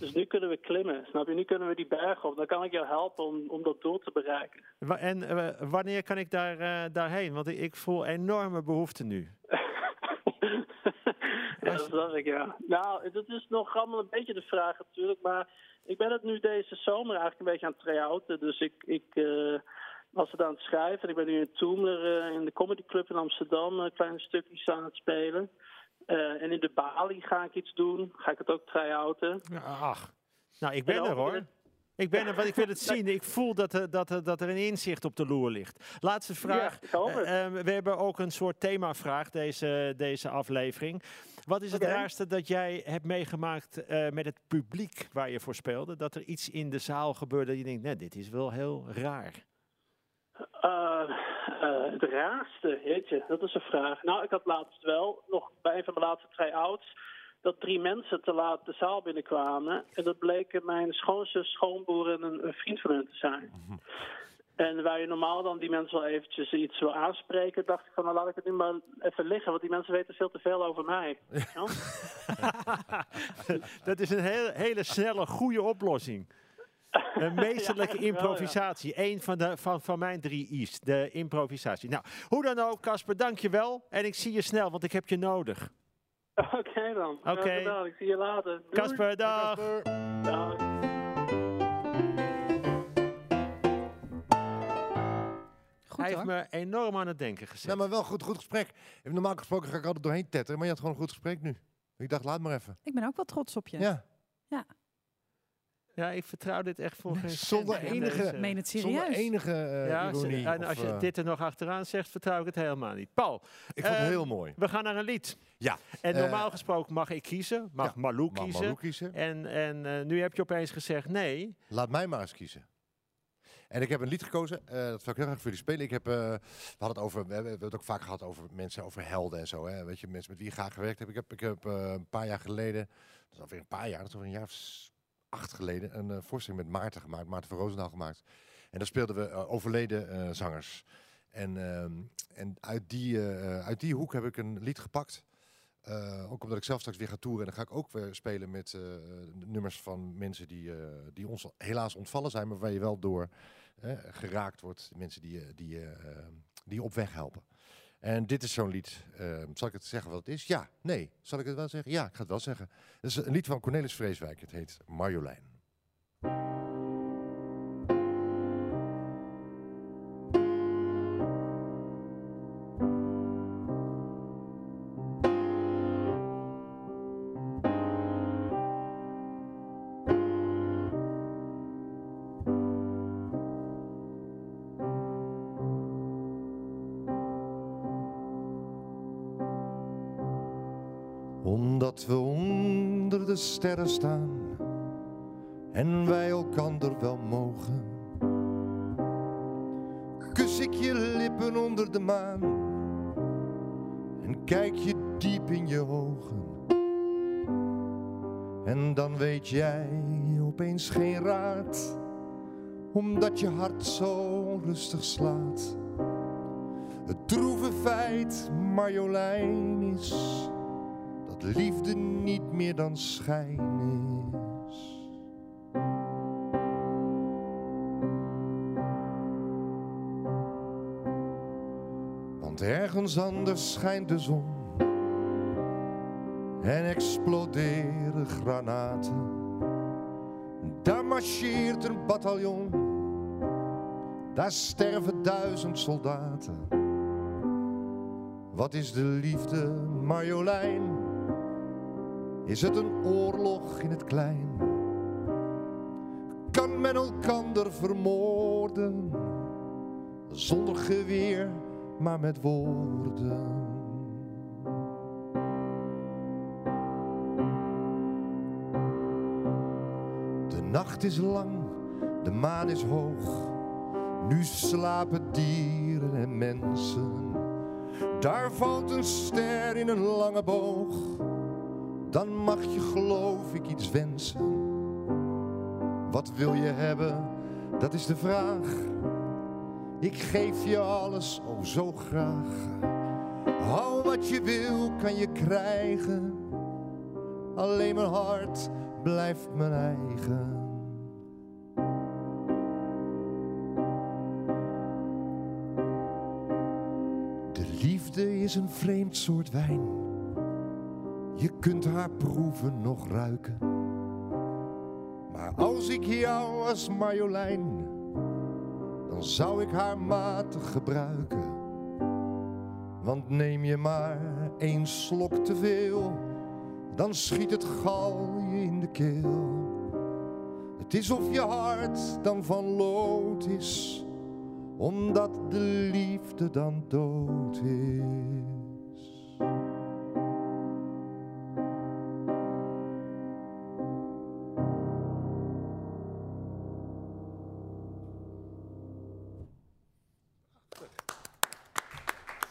Speaker 6: Dus nu kunnen we klimmen, snap je? Nu kunnen we die berg op. Dan kan ik jou helpen om, om dat doel te bereiken.
Speaker 1: Wa- en eh, wanneer kan ik daar, eh, daarheen? Want ik, ik voel enorme behoefte nu.
Speaker 6: <laughs> ja,
Speaker 1: Als
Speaker 6: dat
Speaker 1: je-
Speaker 6: zag ik, ja. Nou, dat is nog allemaal een beetje de vraag natuurlijk. Maar ik ben het nu deze zomer eigenlijk een beetje aan het try-outen. Dus ik, ik eh, was het aan het schrijven. En ik ben nu in Toemler eh, in de Comedy Club in Amsterdam eh, kleine stukjes aan het spelen. Eh, en in de Bali ga ik iets doen. Ga ik het ook try-outen.
Speaker 1: Ach, nou ik ben
Speaker 6: En
Speaker 1: er
Speaker 6: ook-
Speaker 1: hoor. Ik ben er, want ik wil het zien. Ik voel dat er, dat, er, dat er een inzicht op de loer ligt. Laatste vraag.
Speaker 6: Ja, ik hoop het.
Speaker 1: Eh, ehm, we hebben ook een soort themavraag deze, deze aflevering. Wat is het
Speaker 6: Oké.
Speaker 1: raarste dat jij hebt meegemaakt eh, met het publiek waar je voor speelde? Dat er iets in de zaal gebeurde dat je denkt, nee, dit is wel heel raar.
Speaker 6: Eh, eh, het raarste, jeetje, dat is een vraag. Nou, ik had laatst wel, nog bij een van mijn laatste try-outs, dat drie mensen te laat de zaal binnenkwamen. En dat bleken mijn schoonzus, schoonboer en een, een vriend van hun te zijn. En waar je normaal dan die mensen wel eventjes iets wil aanspreken, dacht ik van, nou laat ik het nu maar even liggen, want die mensen weten veel te veel over mij. Ja?
Speaker 1: <laughs> dat is een heel, hele snelle, goede oplossing. Een meesterlijke
Speaker 6: <laughs> Ja, eigenlijk wel, ja.
Speaker 1: improvisatie. Eén van, de, van, van mijn drie I's, de improvisatie. Nou, hoe dan ook, Casper, dank je wel. En ik zie je snel, want ik heb je nodig.
Speaker 6: Oké dan. Graag
Speaker 1: Oké.
Speaker 6: gedaan. Ik zie je later. Doei.
Speaker 1: Casper, dag.
Speaker 6: Dag.
Speaker 3: Goed
Speaker 1: Hij heeft
Speaker 3: hoor.
Speaker 1: me enorm aan het denken gezet.
Speaker 2: Nou, maar wel goed, goed gesprek. Normaal gesproken ga ik altijd doorheen tetteren, maar je had gewoon een goed gesprek nu. Ik dacht, laat maar even.
Speaker 3: Ik ben ook wel trots op je.
Speaker 2: Ja.
Speaker 1: Ja, ik vertrouw dit echt voor geen
Speaker 2: zonder
Speaker 1: cent aan
Speaker 2: enige-
Speaker 1: deze-
Speaker 3: Ik meen het serieus.
Speaker 2: Zonder enige eh,
Speaker 1: ja, ze-
Speaker 2: ironie.
Speaker 1: en
Speaker 2: of,
Speaker 1: als je
Speaker 2: eh,
Speaker 1: dit er nog achteraan zegt, vertrouw ik het helemaal niet. Paul,
Speaker 2: ik vond het
Speaker 1: eh,
Speaker 2: heel mooi.
Speaker 1: we gaan naar een lied.
Speaker 2: Ja,
Speaker 1: En
Speaker 2: eh,
Speaker 1: normaal gesproken mag ik kiezen, mag
Speaker 2: ja,
Speaker 1: Malou
Speaker 2: Mag
Speaker 1: kiezen.
Speaker 2: Malou kiezen?
Speaker 1: En, en eh, nu heb je opeens gezegd nee.
Speaker 2: Laat mij maar eens kiezen. En ik heb een lied gekozen, eh, dat zou ik heel graag voor jullie spelen. Ik heb, eh, we hadden het over, we hebben we hebben het ook vaak gehad over mensen, over helden en zo. Hè? Weet je, mensen met wie je graag gewerkt hebt. Ik heb, ik heb eh, een paar jaar geleden, dat is alweer een paar jaar, dat is alweer een jaar of s- acht geleden, een eh, voorstelling met Maarten gemaakt, Maarten van Roosendaal gemaakt. En daar speelden we eh, overleden eh, zangers. En, ehm, en uit, die, eh, eh, uit die hoek heb ik een lied gepakt. Eh, ook omdat ik zelf straks weer ga toeren. En dan ga ik ook weer spelen met eh, nummers van mensen die, eh, die ons helaas ontvallen zijn. Maar waar je wel door eh, geraakt wordt. De mensen die, je- die, je, eh, die je op weg helpen. En dit is zo'n lied. Eh, zal ik het zeggen wat het is? Ja, nee. Zal ik het wel zeggen? Ja, ik ga het wel zeggen. Het is een lied van Cornelis Vreeswijk. Het heet Marjolein. Omdat we onder de sterren staan en wij elkander wel mogen. Kus ik je lippen onder de maan en kijk je diep in je ogen. En dan weet jij opeens geen raad, omdat je hart zo rustig slaat. Het droeve feit, Marjolein, is dat liefde niet meer dan schijn is. Want ergens anders schijnt de zon en exploderen granaten. Daar marcheert een bataljon, daar sterven duizend soldaten. Wat is de liefde, Marjolein? Is het een oorlog in het klein? Kan men elkander vermoorden? Zonder geweer, maar met woorden. De nacht is lang, de maan is hoog. Nu slapen dieren en mensen. Daar valt een ster in een lange boog dan mag je geloof ik iets wensen. Wat wil je hebben, dat is de vraag. Ik geef je alles, oh zo graag. Hou wat je wil, kan je krijgen. Alleen mijn hart blijft mijn eigen. De liefde is een vreemd soort wijn. Je kunt haar proeven, nog ruiken. Maar als ik jou als Marjolein, dan zou ik haar matig gebruiken. Want neem je maar één slok te veel, dan schiet het gal je in de keel. Het is of je hart dan van lood is, omdat de liefde dan dood is.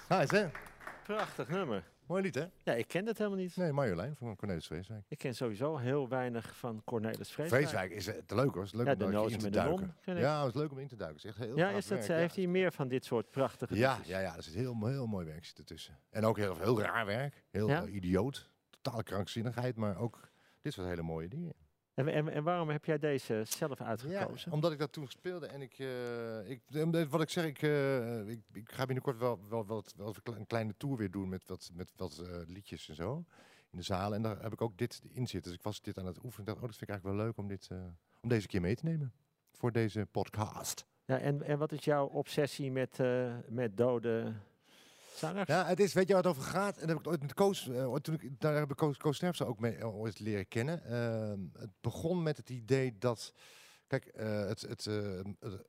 Speaker 2: Nice, hè?
Speaker 1: Prachtig nummer.
Speaker 2: Mooi lied, hè?
Speaker 1: Ja, ik ken dat helemaal niet.
Speaker 2: Nee, Marjolein van Cornelis Vreeswijk.
Speaker 1: Ik ken sowieso heel weinig van Cornelis Vreeswijk.
Speaker 2: Vreeswijk is het leuk hoor. Het is leuk
Speaker 1: Ja,
Speaker 2: om
Speaker 1: de
Speaker 2: daar
Speaker 1: noot
Speaker 2: in te
Speaker 1: met de non,
Speaker 2: duiken.
Speaker 1: ken ik.
Speaker 2: ja, het is leuk om in te duiken. Het is echt heel
Speaker 1: Ja,
Speaker 2: gaaf
Speaker 1: is dat,
Speaker 2: werk,
Speaker 1: ze-
Speaker 2: ja.
Speaker 1: heeft hij meer van dit soort prachtige
Speaker 2: Ja,
Speaker 1: liedjes?
Speaker 2: ja, ja, er zit heel, heel mooi werk zit ertussen. En ook heel, heel raar werk. Heel
Speaker 1: Ja?
Speaker 2: eh, idioot. Totale krankzinnigheid, maar ook dit soort hele mooie dingen.
Speaker 1: En, en, en waarom heb jij deze zelf uitgekozen?
Speaker 2: omdat ik dat toen speelde en ik, eh, ik eh, wat ik zeg, ik, eh, ik, ik ga binnenkort wel, wel, wel, wel een kle- een kleine tour weer doen met wat, met wat eh, liedjes en zo in de zaal. En daar heb ik ook dit in zitten. Dus ik was dit aan het oefenen. Ik dacht, oh, dat vind ik eigenlijk wel leuk om, dit, eh, om deze keer mee te nemen voor deze podcast.
Speaker 1: Ja, en, en wat is jouw obsessie met, eh, met dode zangers?
Speaker 2: Ja, het is, weet je waar het over gaat? En daar heb ik ooit met Koos, eh, ooit toen ik, daar heb ik Koos, Koos Terpstra ook mee eh, ooit leren kennen. Ehm, het begon met het idee dat, kijk, eh, het, het, eh, het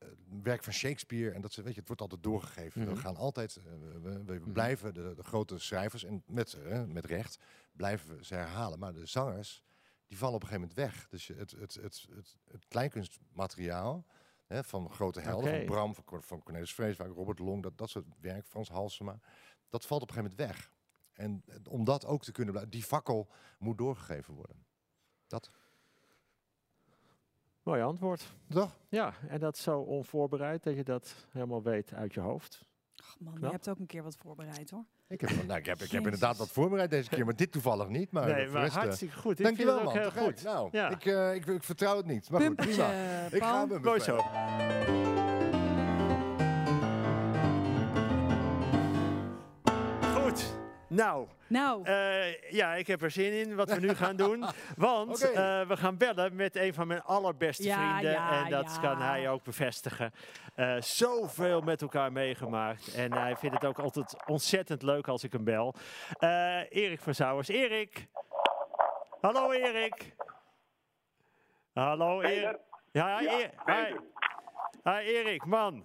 Speaker 2: werk van Shakespeare, en dat ze, weet je, het wordt altijd doorgegeven.
Speaker 1: Mhm.
Speaker 2: We gaan altijd, eh, we- we, we
Speaker 1: Mhm.
Speaker 2: blijven de, de grote schrijvers, en met, eh, met recht, blijven we ze herhalen. Maar de zangers, die vallen op een gegeven moment weg. Dus je- het, het, het, het, het kleinkunstmateriaal hè, van grote helden,
Speaker 1: Oké.
Speaker 2: van Bram, van, Cor- van Cornelis Vreeswijk, Robert Long, dat, dat soort werk, Frans Halsema, dat valt op een gegeven moment weg. En eh, om dat ook te kunnen blijven, die fakkel moet doorgegeven worden.
Speaker 1: Mooi antwoord.
Speaker 2: Toch?
Speaker 1: Ja, en dat zo onvoorbereid dat je dat helemaal weet uit je hoofd.
Speaker 3: Ach man, je
Speaker 1: Knap.
Speaker 3: hebt ook een keer wat voorbereid hoor.
Speaker 2: Ik heb, nou, ik heb, ik heb inderdaad
Speaker 3: Jezus.
Speaker 2: wat voorbereid deze keer, maar dit toevallig niet. Maar
Speaker 1: nee,
Speaker 2: voor
Speaker 1: maar
Speaker 2: de rest, eh,
Speaker 1: hartstikke goed. Ik vind
Speaker 2: Dankjewel
Speaker 1: het
Speaker 2: man,
Speaker 1: ook heel
Speaker 2: te gek.
Speaker 1: goed.
Speaker 2: Nou,
Speaker 1: Ja.
Speaker 2: ik, eh, ik, ik vertrouw het niet, maar goed, prima.
Speaker 3: Pumpertje,
Speaker 2: Ik ga
Speaker 3: Paul.
Speaker 2: hem
Speaker 1: Mooi zo.
Speaker 2: bespelen.
Speaker 1: Nou,
Speaker 3: Nou,
Speaker 1: eh, ja, ik heb er zin in wat we nu gaan doen. Want
Speaker 2: Oké.
Speaker 1: eh, we gaan bellen met een van mijn allerbeste
Speaker 3: Ja,
Speaker 1: vrienden.
Speaker 3: ja,
Speaker 1: en dat
Speaker 3: ja.
Speaker 1: kan hij ook bevestigen. Eh, zoveel met elkaar meegemaakt. En hij vindt het ook altijd ontzettend leuk als ik hem bel. Eh, Erik van Zouwers. Erik! Hallo Erik! Hallo
Speaker 7: Hey,
Speaker 1: Erik. Ja,
Speaker 7: Ja,
Speaker 1: Erik. hi.
Speaker 7: Peter.
Speaker 1: Hi, Erik, man.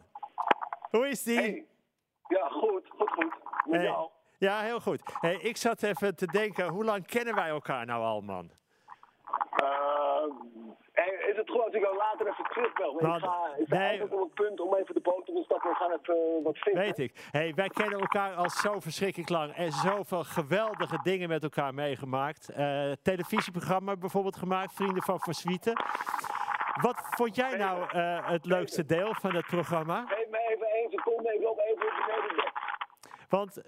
Speaker 1: Hoe is die?
Speaker 7: Hey. Ja, goed, goed, goed. Met
Speaker 1: Hey.
Speaker 7: jou?
Speaker 1: Ja, heel goed. Hey, ik zat even te denken, hoe lang kennen wij elkaar nou al, man?
Speaker 7: Eh, hey, is het goed als ik jou later even terugbel? Want
Speaker 1: Nou,
Speaker 7: ik ga, ik sta
Speaker 1: nee.
Speaker 7: eigenlijk op het punt om even de boot op te stappen. We gaan even eh, wat vinden.
Speaker 1: Weet ik. Hey, wij kennen elkaar al zo verschrikkelijk lang en zoveel geweldige dingen met elkaar meegemaakt. Eh, televisieprogramma bijvoorbeeld gemaakt, Vrienden van Verswieten. Wat vond jij nou eh, het leukste deel van het programma?
Speaker 7: Geef me even één seconde. Ik loop even op beneden. de-
Speaker 1: Want,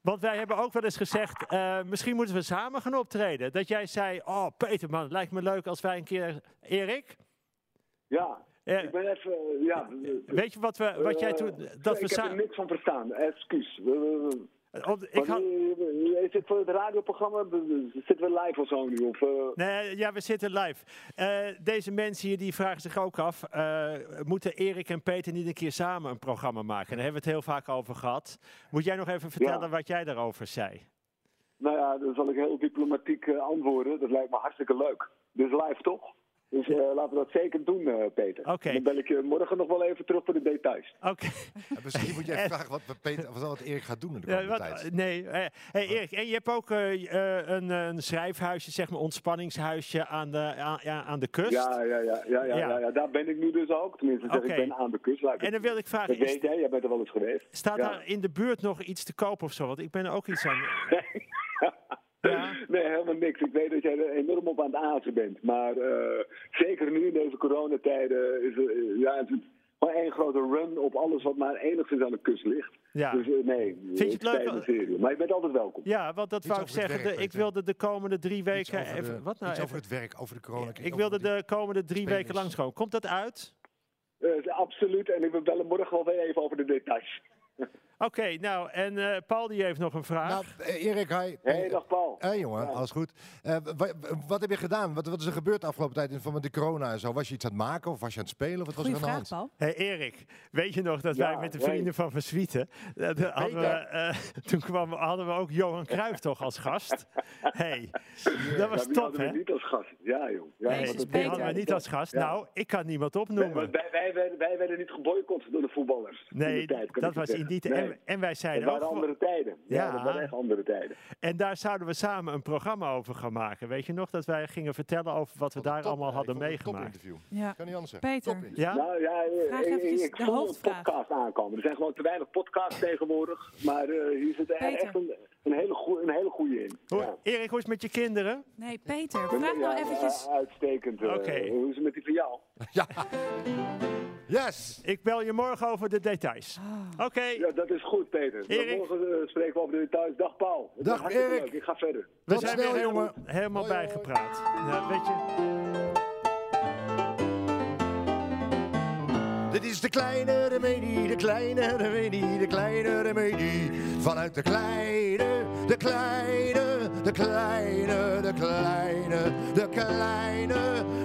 Speaker 1: want wij hebben ook wel eens gezegd, eh, misschien moeten we samen gaan optreden. Dat jij zei, oh Peter man, het lijkt me leuk als wij een keer... Erik?
Speaker 7: Ja,
Speaker 1: Eh,
Speaker 7: ik ben even... eh, Ja,
Speaker 1: Weet je wat, we, wat jij
Speaker 7: eh,
Speaker 1: toen... Dat we
Speaker 7: ik heb er
Speaker 1: samen...
Speaker 7: niks van verstaan. Excuus. Eh, eh,
Speaker 1: Om- Ik
Speaker 7: want,
Speaker 1: had,
Speaker 7: eh, Is dit voor het radioprogramma? Zitten we live of zo nu? Of, eh,
Speaker 1: nee, ja, we zitten live. Eh, deze mensen hier die vragen zich ook af... eh, moeten Erik en Peter niet een keer samen een programma maken? Daar hebben we het heel vaak over gehad. Moet jij nog even vertellen
Speaker 7: Ja.
Speaker 1: wat jij daarover zei?
Speaker 7: Nou ja, dan zal ik heel diplomatiek eh, antwoorden. Dat lijkt me hartstikke leuk. Dus live toch? Dus eh, laten we dat zeker doen, eh, Peter.
Speaker 1: Oké.
Speaker 7: Dan bel ik je morgen nog wel even terug voor de details.
Speaker 1: Oké.
Speaker 2: En Eh, misschien moet je
Speaker 1: <laughs>
Speaker 2: even vragen wat, Peter, wat Erik gaat doen in de
Speaker 1: Ja,
Speaker 2: komende
Speaker 1: wat-
Speaker 2: tijd.
Speaker 1: nee, eh, hey, Erik, en je hebt ook eh, j- eh, een, eh, een schrijfhuisje, zeg maar, ontspanningshuisje aan de, aan, ja, aan de kust.
Speaker 7: Ja, ja, ja, ja, ja,
Speaker 1: Ja.
Speaker 7: ja, ja. Daar ben ik nu dus ook. Tenminste, zeg,
Speaker 1: Oké.
Speaker 7: ik ben aan de kust. Laat ik
Speaker 1: En dan
Speaker 7: het-
Speaker 1: wil ik vragen,
Speaker 7: Dat
Speaker 1: is,
Speaker 7: weet jij, jij bent er wel eens geweest.
Speaker 1: staat
Speaker 7: Ja.
Speaker 1: daar in de buurt nog iets te koop of zo? Want ik ben er ook iets aan... Ja.
Speaker 7: <laughs> Nee, helemaal niks. Ik weet dat jij er enorm op aan het azen bent. Maar eh, zeker nu in deze coronatijden is er eh, ja, het is gewoon één grote run op alles wat maar enigszins aan de kust ligt.
Speaker 1: Ja.
Speaker 7: Dus eh, nee,
Speaker 1: je het
Speaker 7: ik sta
Speaker 1: leuk
Speaker 7: in
Speaker 1: al-
Speaker 7: de serie. Maar je bent altijd welkom.
Speaker 1: Ja, want dat
Speaker 2: Iets
Speaker 1: wou ik
Speaker 2: over het
Speaker 1: zeggen.
Speaker 2: werk,
Speaker 1: De- ik
Speaker 2: Peter.
Speaker 1: wilde de komende drie
Speaker 2: Iets
Speaker 1: weken.
Speaker 2: over,
Speaker 1: even,
Speaker 2: de-
Speaker 1: wat nou?
Speaker 2: iets over
Speaker 1: Even,
Speaker 2: het werk, over de corona.
Speaker 1: ik wilde de komende drie
Speaker 2: spelers.
Speaker 1: weken langs gewoon. Komt dat uit?
Speaker 7: Eh, absoluut. En ik bel morgen wel weer even over de details.
Speaker 1: Oké, nou, en eh, Paul die heeft nog een vraag.
Speaker 2: Nou, eh, Erik, hi.
Speaker 7: Hé, hey, dag Paul.
Speaker 2: Hé jongen, alles goed. Eh, wa- wa- wat heb je gedaan? Wat, wat is er gebeurd de afgelopen tijd in verband met de corona en zo? Was je iets aan het maken of was je aan het spelen? Wat was
Speaker 3: goede
Speaker 2: er aan de
Speaker 3: vraag,
Speaker 2: hand?
Speaker 3: Paul.
Speaker 1: Hey Erik, weet je nog dat wij
Speaker 7: Ja,
Speaker 1: met de
Speaker 7: hey.
Speaker 1: vrienden van Verswieten, dat hadden we, eh, <laughs> toen kwam, hadden we ook Johan Cruijff toch als gast? Hey, dat was
Speaker 7: Ja, wie
Speaker 1: top
Speaker 7: hadden we
Speaker 1: hè?
Speaker 7: niet als gast. Ja, joh. Ja,
Speaker 1: Hey,
Speaker 3: Jezus,
Speaker 7: wat een
Speaker 1: die
Speaker 3: Peter.
Speaker 1: hadden we niet als gast.
Speaker 7: Ja.
Speaker 1: Nou, ik kan niemand
Speaker 7: Wij,
Speaker 1: opnoemen.
Speaker 7: wij, wij, werden- wij werden niet geboycott door de voetballers. in
Speaker 1: Nee,
Speaker 7: die tijd, kan
Speaker 1: dat
Speaker 7: ik je
Speaker 1: was in
Speaker 7: zeggen.
Speaker 1: die
Speaker 7: Nee.
Speaker 1: en, en wij
Speaker 7: Het
Speaker 1: zeiden ook
Speaker 7: waren
Speaker 1: gewoon-
Speaker 7: andere tijden. Ja,
Speaker 1: Ja.
Speaker 7: dat waren echt andere tijden.
Speaker 1: En daar zouden we samen een programma over gaan maken. Weet je nog dat wij gingen vertellen over
Speaker 2: Wat
Speaker 1: wat we
Speaker 2: een
Speaker 1: daar
Speaker 2: top-
Speaker 1: allemaal
Speaker 2: ik
Speaker 1: hadden
Speaker 2: vond het een
Speaker 1: meegemaakt?
Speaker 2: Topinterview.
Speaker 3: Ja.
Speaker 2: Kan niet anders zeggen.
Speaker 3: Peter.
Speaker 2: Topinterview.
Speaker 1: Ja?
Speaker 7: Nou ja, eh,
Speaker 3: Vraag
Speaker 7: ik,
Speaker 3: eventjes
Speaker 7: ik
Speaker 3: de
Speaker 7: voel een
Speaker 3: hoofdvraag.
Speaker 7: podcast aankomen. Er zijn gewoon te weinig podcasts tegenwoordig. Maar eh, hier zit er
Speaker 3: Peter.
Speaker 7: echt een, een hele goe- een hele goede in.
Speaker 1: Hoe-
Speaker 7: Ja.
Speaker 1: Erik, hoe is het met je kinderen?
Speaker 3: Nee, Peter, vraag nou
Speaker 7: Ja,
Speaker 3: eventjes.
Speaker 7: eh, Uitstekend. eh,
Speaker 1: Oké.
Speaker 7: Hoe is het met die van jou?
Speaker 2: Yes!
Speaker 1: Ik bel je morgen over de details.
Speaker 2: Ah.
Speaker 1: Oké,
Speaker 7: Ja, dat is goed, Peter. Dan
Speaker 1: Erik.
Speaker 7: Morgen eh, spreken we over de details. Dag, Paul. Het
Speaker 2: Dag,
Speaker 7: was hartstikke
Speaker 2: Erik.
Speaker 7: leuk. Ik ga verder.
Speaker 1: we
Speaker 2: tot
Speaker 1: zijn
Speaker 2: snel,
Speaker 1: weer helemaal,
Speaker 2: jongen.
Speaker 1: helemaal
Speaker 2: Hoi, hoi.
Speaker 1: bijgepraat. Nou, weet je,
Speaker 2: Dit is de kleine remedie, de kleine remedie, de kleine remedie. Vanuit de kleine, de kleine, de kleine, de kleine, de kleine,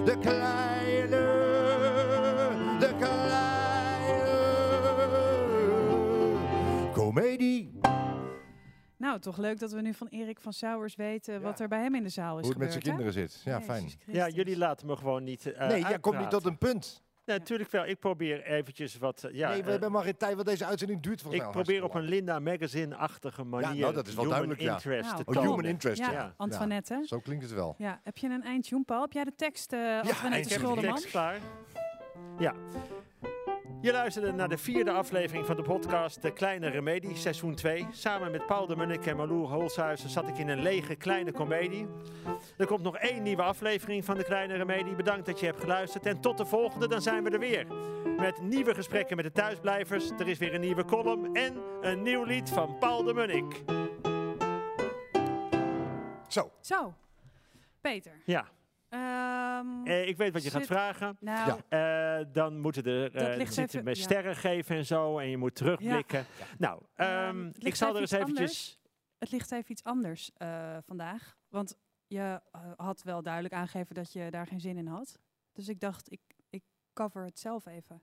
Speaker 2: de kleine, de kleine. Comedie.
Speaker 3: Nou, toch leuk dat we nu van Erik van Sauers weten wat
Speaker 2: Ja.
Speaker 3: er bij hem in de zaal is
Speaker 2: Hoe het met
Speaker 3: gebeurd.
Speaker 2: zijn
Speaker 3: hè?
Speaker 2: kinderen zit. Ja, fijn.
Speaker 3: Jezus
Speaker 1: ja,
Speaker 3: Christus.
Speaker 1: jullie laten me gewoon niet
Speaker 2: Nee,
Speaker 1: eh
Speaker 2: jij komt niet
Speaker 1: uitpraten.
Speaker 2: tot een punt.
Speaker 1: Nee, Natuurlijk wel, ik probeer eventjes wat... eh, Ja,
Speaker 2: Nee, we
Speaker 1: eh,
Speaker 2: hebben maar geen tijd, want deze uitzending duurt volgens
Speaker 1: ik
Speaker 2: mij al
Speaker 1: probeer op
Speaker 2: hartstikke
Speaker 1: een Linda Magazine-achtige manier
Speaker 2: nou, dat is wel
Speaker 1: human
Speaker 2: duidelijk, ja.
Speaker 1: interest
Speaker 3: Nou,
Speaker 1: te
Speaker 2: lang.
Speaker 3: Oh,
Speaker 1: tonen.
Speaker 2: Oh, human interest,
Speaker 3: Ja,
Speaker 2: ja.
Speaker 1: Ja.
Speaker 3: Antoinette. hè?
Speaker 2: Zo klinkt het wel.
Speaker 3: Ja, heb je een eindtune, Paul? Heb jij de tekst, eh
Speaker 1: Ik
Speaker 3: Antoinette
Speaker 1: heb de
Speaker 3: Schulderman?
Speaker 1: tekst klaar. Ja. Je luisterde naar de vierde aflevering van de podcast De Kleine Remedie, seizoen 2. Samen met Paul de Munnik en Marloer Holshuizen zat ik in een lege kleine komedie. Er komt nog één nieuwe aflevering van De Kleine Remedie. Bedankt dat je hebt geluisterd en tot de volgende, dan zijn we er weer. Met nieuwe gesprekken met de thuisblijvers, er is weer een nieuwe column en een nieuw lied van Paul de Munnik.
Speaker 2: Zo.
Speaker 3: Zo, Peter.
Speaker 1: Ja,
Speaker 3: ehm,
Speaker 1: eh, ik weet wat je gaat
Speaker 3: Zit-
Speaker 1: vragen.
Speaker 3: nou,
Speaker 2: Ja.
Speaker 1: Eh, dan moeten er
Speaker 3: Dat
Speaker 1: eh,
Speaker 3: ligt
Speaker 1: zitten
Speaker 3: even-
Speaker 1: met
Speaker 3: ja.
Speaker 1: sterren geven en zo. En je moet terugblikken. Nou, ehm,
Speaker 3: Ehm, het
Speaker 1: ik
Speaker 3: ligt
Speaker 1: zal
Speaker 3: even
Speaker 1: er eens
Speaker 3: iets
Speaker 1: eventjes.
Speaker 3: anders. het ligt even iets anders eh, vandaag. Want je eh, had wel duidelijk aangegeven dat je daar geen zin in had. Dus ik dacht, ik, ik cover het zelf even.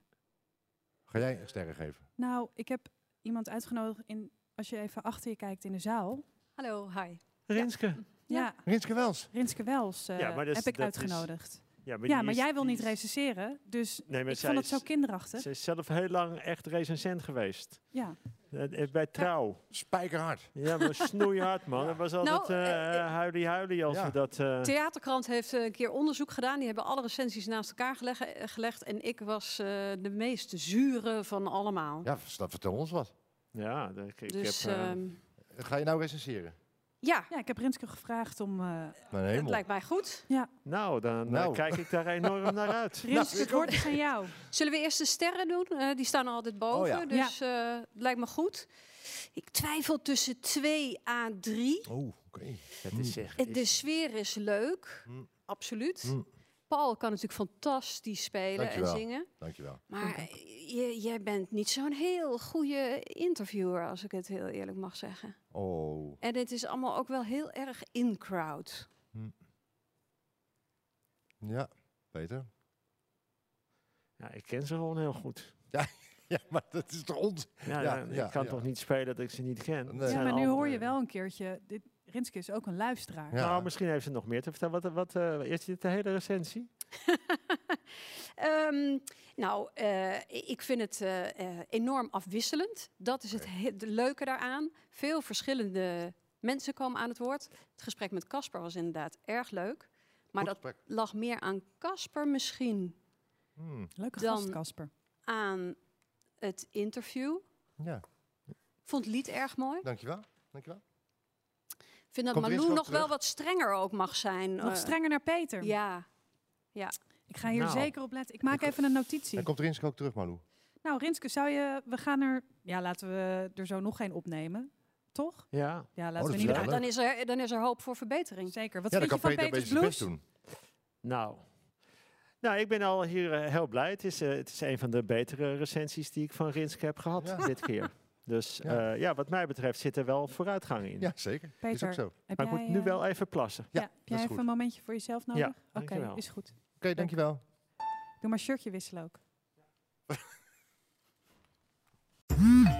Speaker 2: Ga jij sterren geven?
Speaker 3: Nou, ik heb iemand uitgenodigd in, als je even achter je kijkt in de zaal.
Speaker 8: Hallo, Oh, hi.
Speaker 1: Renske.
Speaker 3: Ja,
Speaker 8: Ja.
Speaker 2: Rinske Wels.
Speaker 3: Rinske Wels eh,
Speaker 1: Ja, maar dus
Speaker 3: heb ik
Speaker 1: dat is-
Speaker 3: uitgenodigd.
Speaker 1: maar,
Speaker 3: ja,
Speaker 1: die
Speaker 3: maar
Speaker 1: is-
Speaker 3: jij wil
Speaker 1: die
Speaker 3: niet
Speaker 1: is-
Speaker 3: recenseren, dus
Speaker 1: Nee, maar
Speaker 3: ik
Speaker 1: zij
Speaker 3: vond het
Speaker 1: is-
Speaker 3: zo kinderachtig.
Speaker 1: Ze is zelf heel lang echt recensent geweest.
Speaker 3: Ja.
Speaker 1: Eh, eh, Bij Trouw.
Speaker 2: Spijkerhard.
Speaker 1: Ja,
Speaker 3: <laughs>
Speaker 1: maar snoeihard, man. Dat was altijd
Speaker 8: Nou,
Speaker 1: eh
Speaker 8: eh, eh,
Speaker 1: huilie huilie als
Speaker 2: Ja.
Speaker 1: we dat... eh,
Speaker 8: Theaterkrant heeft eh, een keer onderzoek gedaan. Die hebben alle recensies naast elkaar gelegge- eh, gelegd. En ik was eh, de meest zure van allemaal.
Speaker 2: Ja, vers- dat vertel ons wat.
Speaker 1: ja, dat- ik, ik
Speaker 8: dus
Speaker 1: heb... eh,
Speaker 8: ehm,
Speaker 2: Ga je nou recenseren?
Speaker 8: ja,
Speaker 3: ja, ik heb Rinske gevraagd om... eh
Speaker 2: Mijn
Speaker 8: het
Speaker 2: hemel.
Speaker 8: lijkt mij goed.
Speaker 1: nou, dan eh,
Speaker 2: Nou.
Speaker 1: kijk ik daar enorm naar
Speaker 3: <laughs>
Speaker 1: uit. Nou,
Speaker 3: Rinske, het woord is aan
Speaker 2: <laughs>
Speaker 3: jou.
Speaker 8: Zullen we eerst de sterren doen? Eh, die staan er altijd boven,
Speaker 2: Oh ja.
Speaker 8: dus eh, het lijkt me goed. Ik twijfel tussen 2 à 3.
Speaker 2: Oh, oké.
Speaker 1: Het is echt...
Speaker 8: De sfeer is leuk,
Speaker 2: Mm.
Speaker 8: absoluut.
Speaker 2: Mm.
Speaker 8: Paul kan natuurlijk fantastisch spelen
Speaker 2: Dankjewel.
Speaker 8: en zingen.
Speaker 2: Dankjewel.
Speaker 8: Maar je, jij bent niet zo'n heel goede interviewer, als ik het heel eerlijk mag zeggen.
Speaker 2: Oh.
Speaker 8: En het is allemaal ook wel heel erg in-crowd.
Speaker 2: Ja, Peter.
Speaker 1: Ja, ik ken ze gewoon heel goed.
Speaker 2: <laughs> Ja, maar dat is toch ons?
Speaker 1: Ja,
Speaker 2: Ja,
Speaker 1: ja,
Speaker 2: ja,
Speaker 1: ik kan
Speaker 2: ja.
Speaker 1: toch niet spelen dat ik ze niet ken?
Speaker 2: Nee. Ja,
Speaker 1: Het
Speaker 2: nou, eh,
Speaker 3: Ja,
Speaker 1: zijn
Speaker 3: maar nu
Speaker 1: al- eh,
Speaker 3: hoor je wel een keertje... Dit, Rinske is ook een luisteraar.
Speaker 2: Ja.
Speaker 1: Nou, misschien heeft ze nog meer te vertellen. Wat, wat, eh, is dit de hele recensie?
Speaker 8: <laughs> Ehm, nou, eh, ik vind het eh, eh, enorm afwisselend. Dat is het he- de leuke daaraan. Veel verschillende mensen komen aan het woord. Het gesprek met Casper was inderdaad erg leuk. Maar
Speaker 2: Goed
Speaker 8: dat
Speaker 2: gesprek.
Speaker 8: lag meer aan Casper misschien
Speaker 2: Hmm,
Speaker 3: Leuke
Speaker 8: Dan-
Speaker 3: gast, Casper.
Speaker 8: aan het interview.
Speaker 2: Ja,
Speaker 8: Vond het lied erg mooi.
Speaker 2: dankjewel. Dankjewel.
Speaker 8: Ik vind dat
Speaker 2: Komt Rinske
Speaker 8: Malou
Speaker 2: ook
Speaker 8: nog wel
Speaker 2: terug?
Speaker 8: wat strenger ook mag zijn. eh,
Speaker 3: Nog strenger naar Peter.
Speaker 8: Ja.
Speaker 3: Ik ga hier
Speaker 1: Nou.
Speaker 3: zeker op letten. Ik maak even een notitie.
Speaker 2: Dan komt Rinske ook terug, Malou.
Speaker 3: Nou, Rinske, zou je... We gaan er... Ja, laten we er zo nog geen opnemen. Toch?
Speaker 1: Ja.
Speaker 3: Ja,
Speaker 2: Oh,
Speaker 3: laten
Speaker 2: dat
Speaker 3: we
Speaker 2: is
Speaker 3: niet...
Speaker 2: wel
Speaker 8: Ja,
Speaker 2: leuk.
Speaker 8: dan, is er, dan is er hoop voor verbetering.
Speaker 3: Zeker. Wat
Speaker 2: ja, dan
Speaker 3: vind je
Speaker 2: kan Peter
Speaker 3: van
Speaker 2: een
Speaker 3: Peter's
Speaker 2: beetje zijn best
Speaker 3: Blues?
Speaker 2: doen.
Speaker 1: Nou. Nou, ik ben al hier eh, heel blij. Het is, eh, het is een van de betere recensies die ik van Rinske heb gehad
Speaker 2: Ja.
Speaker 1: dit
Speaker 2: <laughs>
Speaker 1: keer. Dus
Speaker 2: Ja.
Speaker 1: ja. ja, wat mij betreft zit er wel vooruitgang in.
Speaker 2: Ja, zeker. Is
Speaker 3: Peter,
Speaker 2: ook zo. Oké,
Speaker 3: Heb
Speaker 1: Maar ik
Speaker 3: jij,
Speaker 1: moet nu
Speaker 3: eh,
Speaker 1: wel even plassen.
Speaker 2: Ja,
Speaker 3: Ja, heb
Speaker 2: dat
Speaker 3: jij
Speaker 2: is
Speaker 3: even
Speaker 2: goed.
Speaker 3: een momentje voor jezelf nodig? Oké,
Speaker 1: dankjewel.
Speaker 3: is goed.
Speaker 2: dankjewel.
Speaker 3: Doe maar shirtje wisselen ook.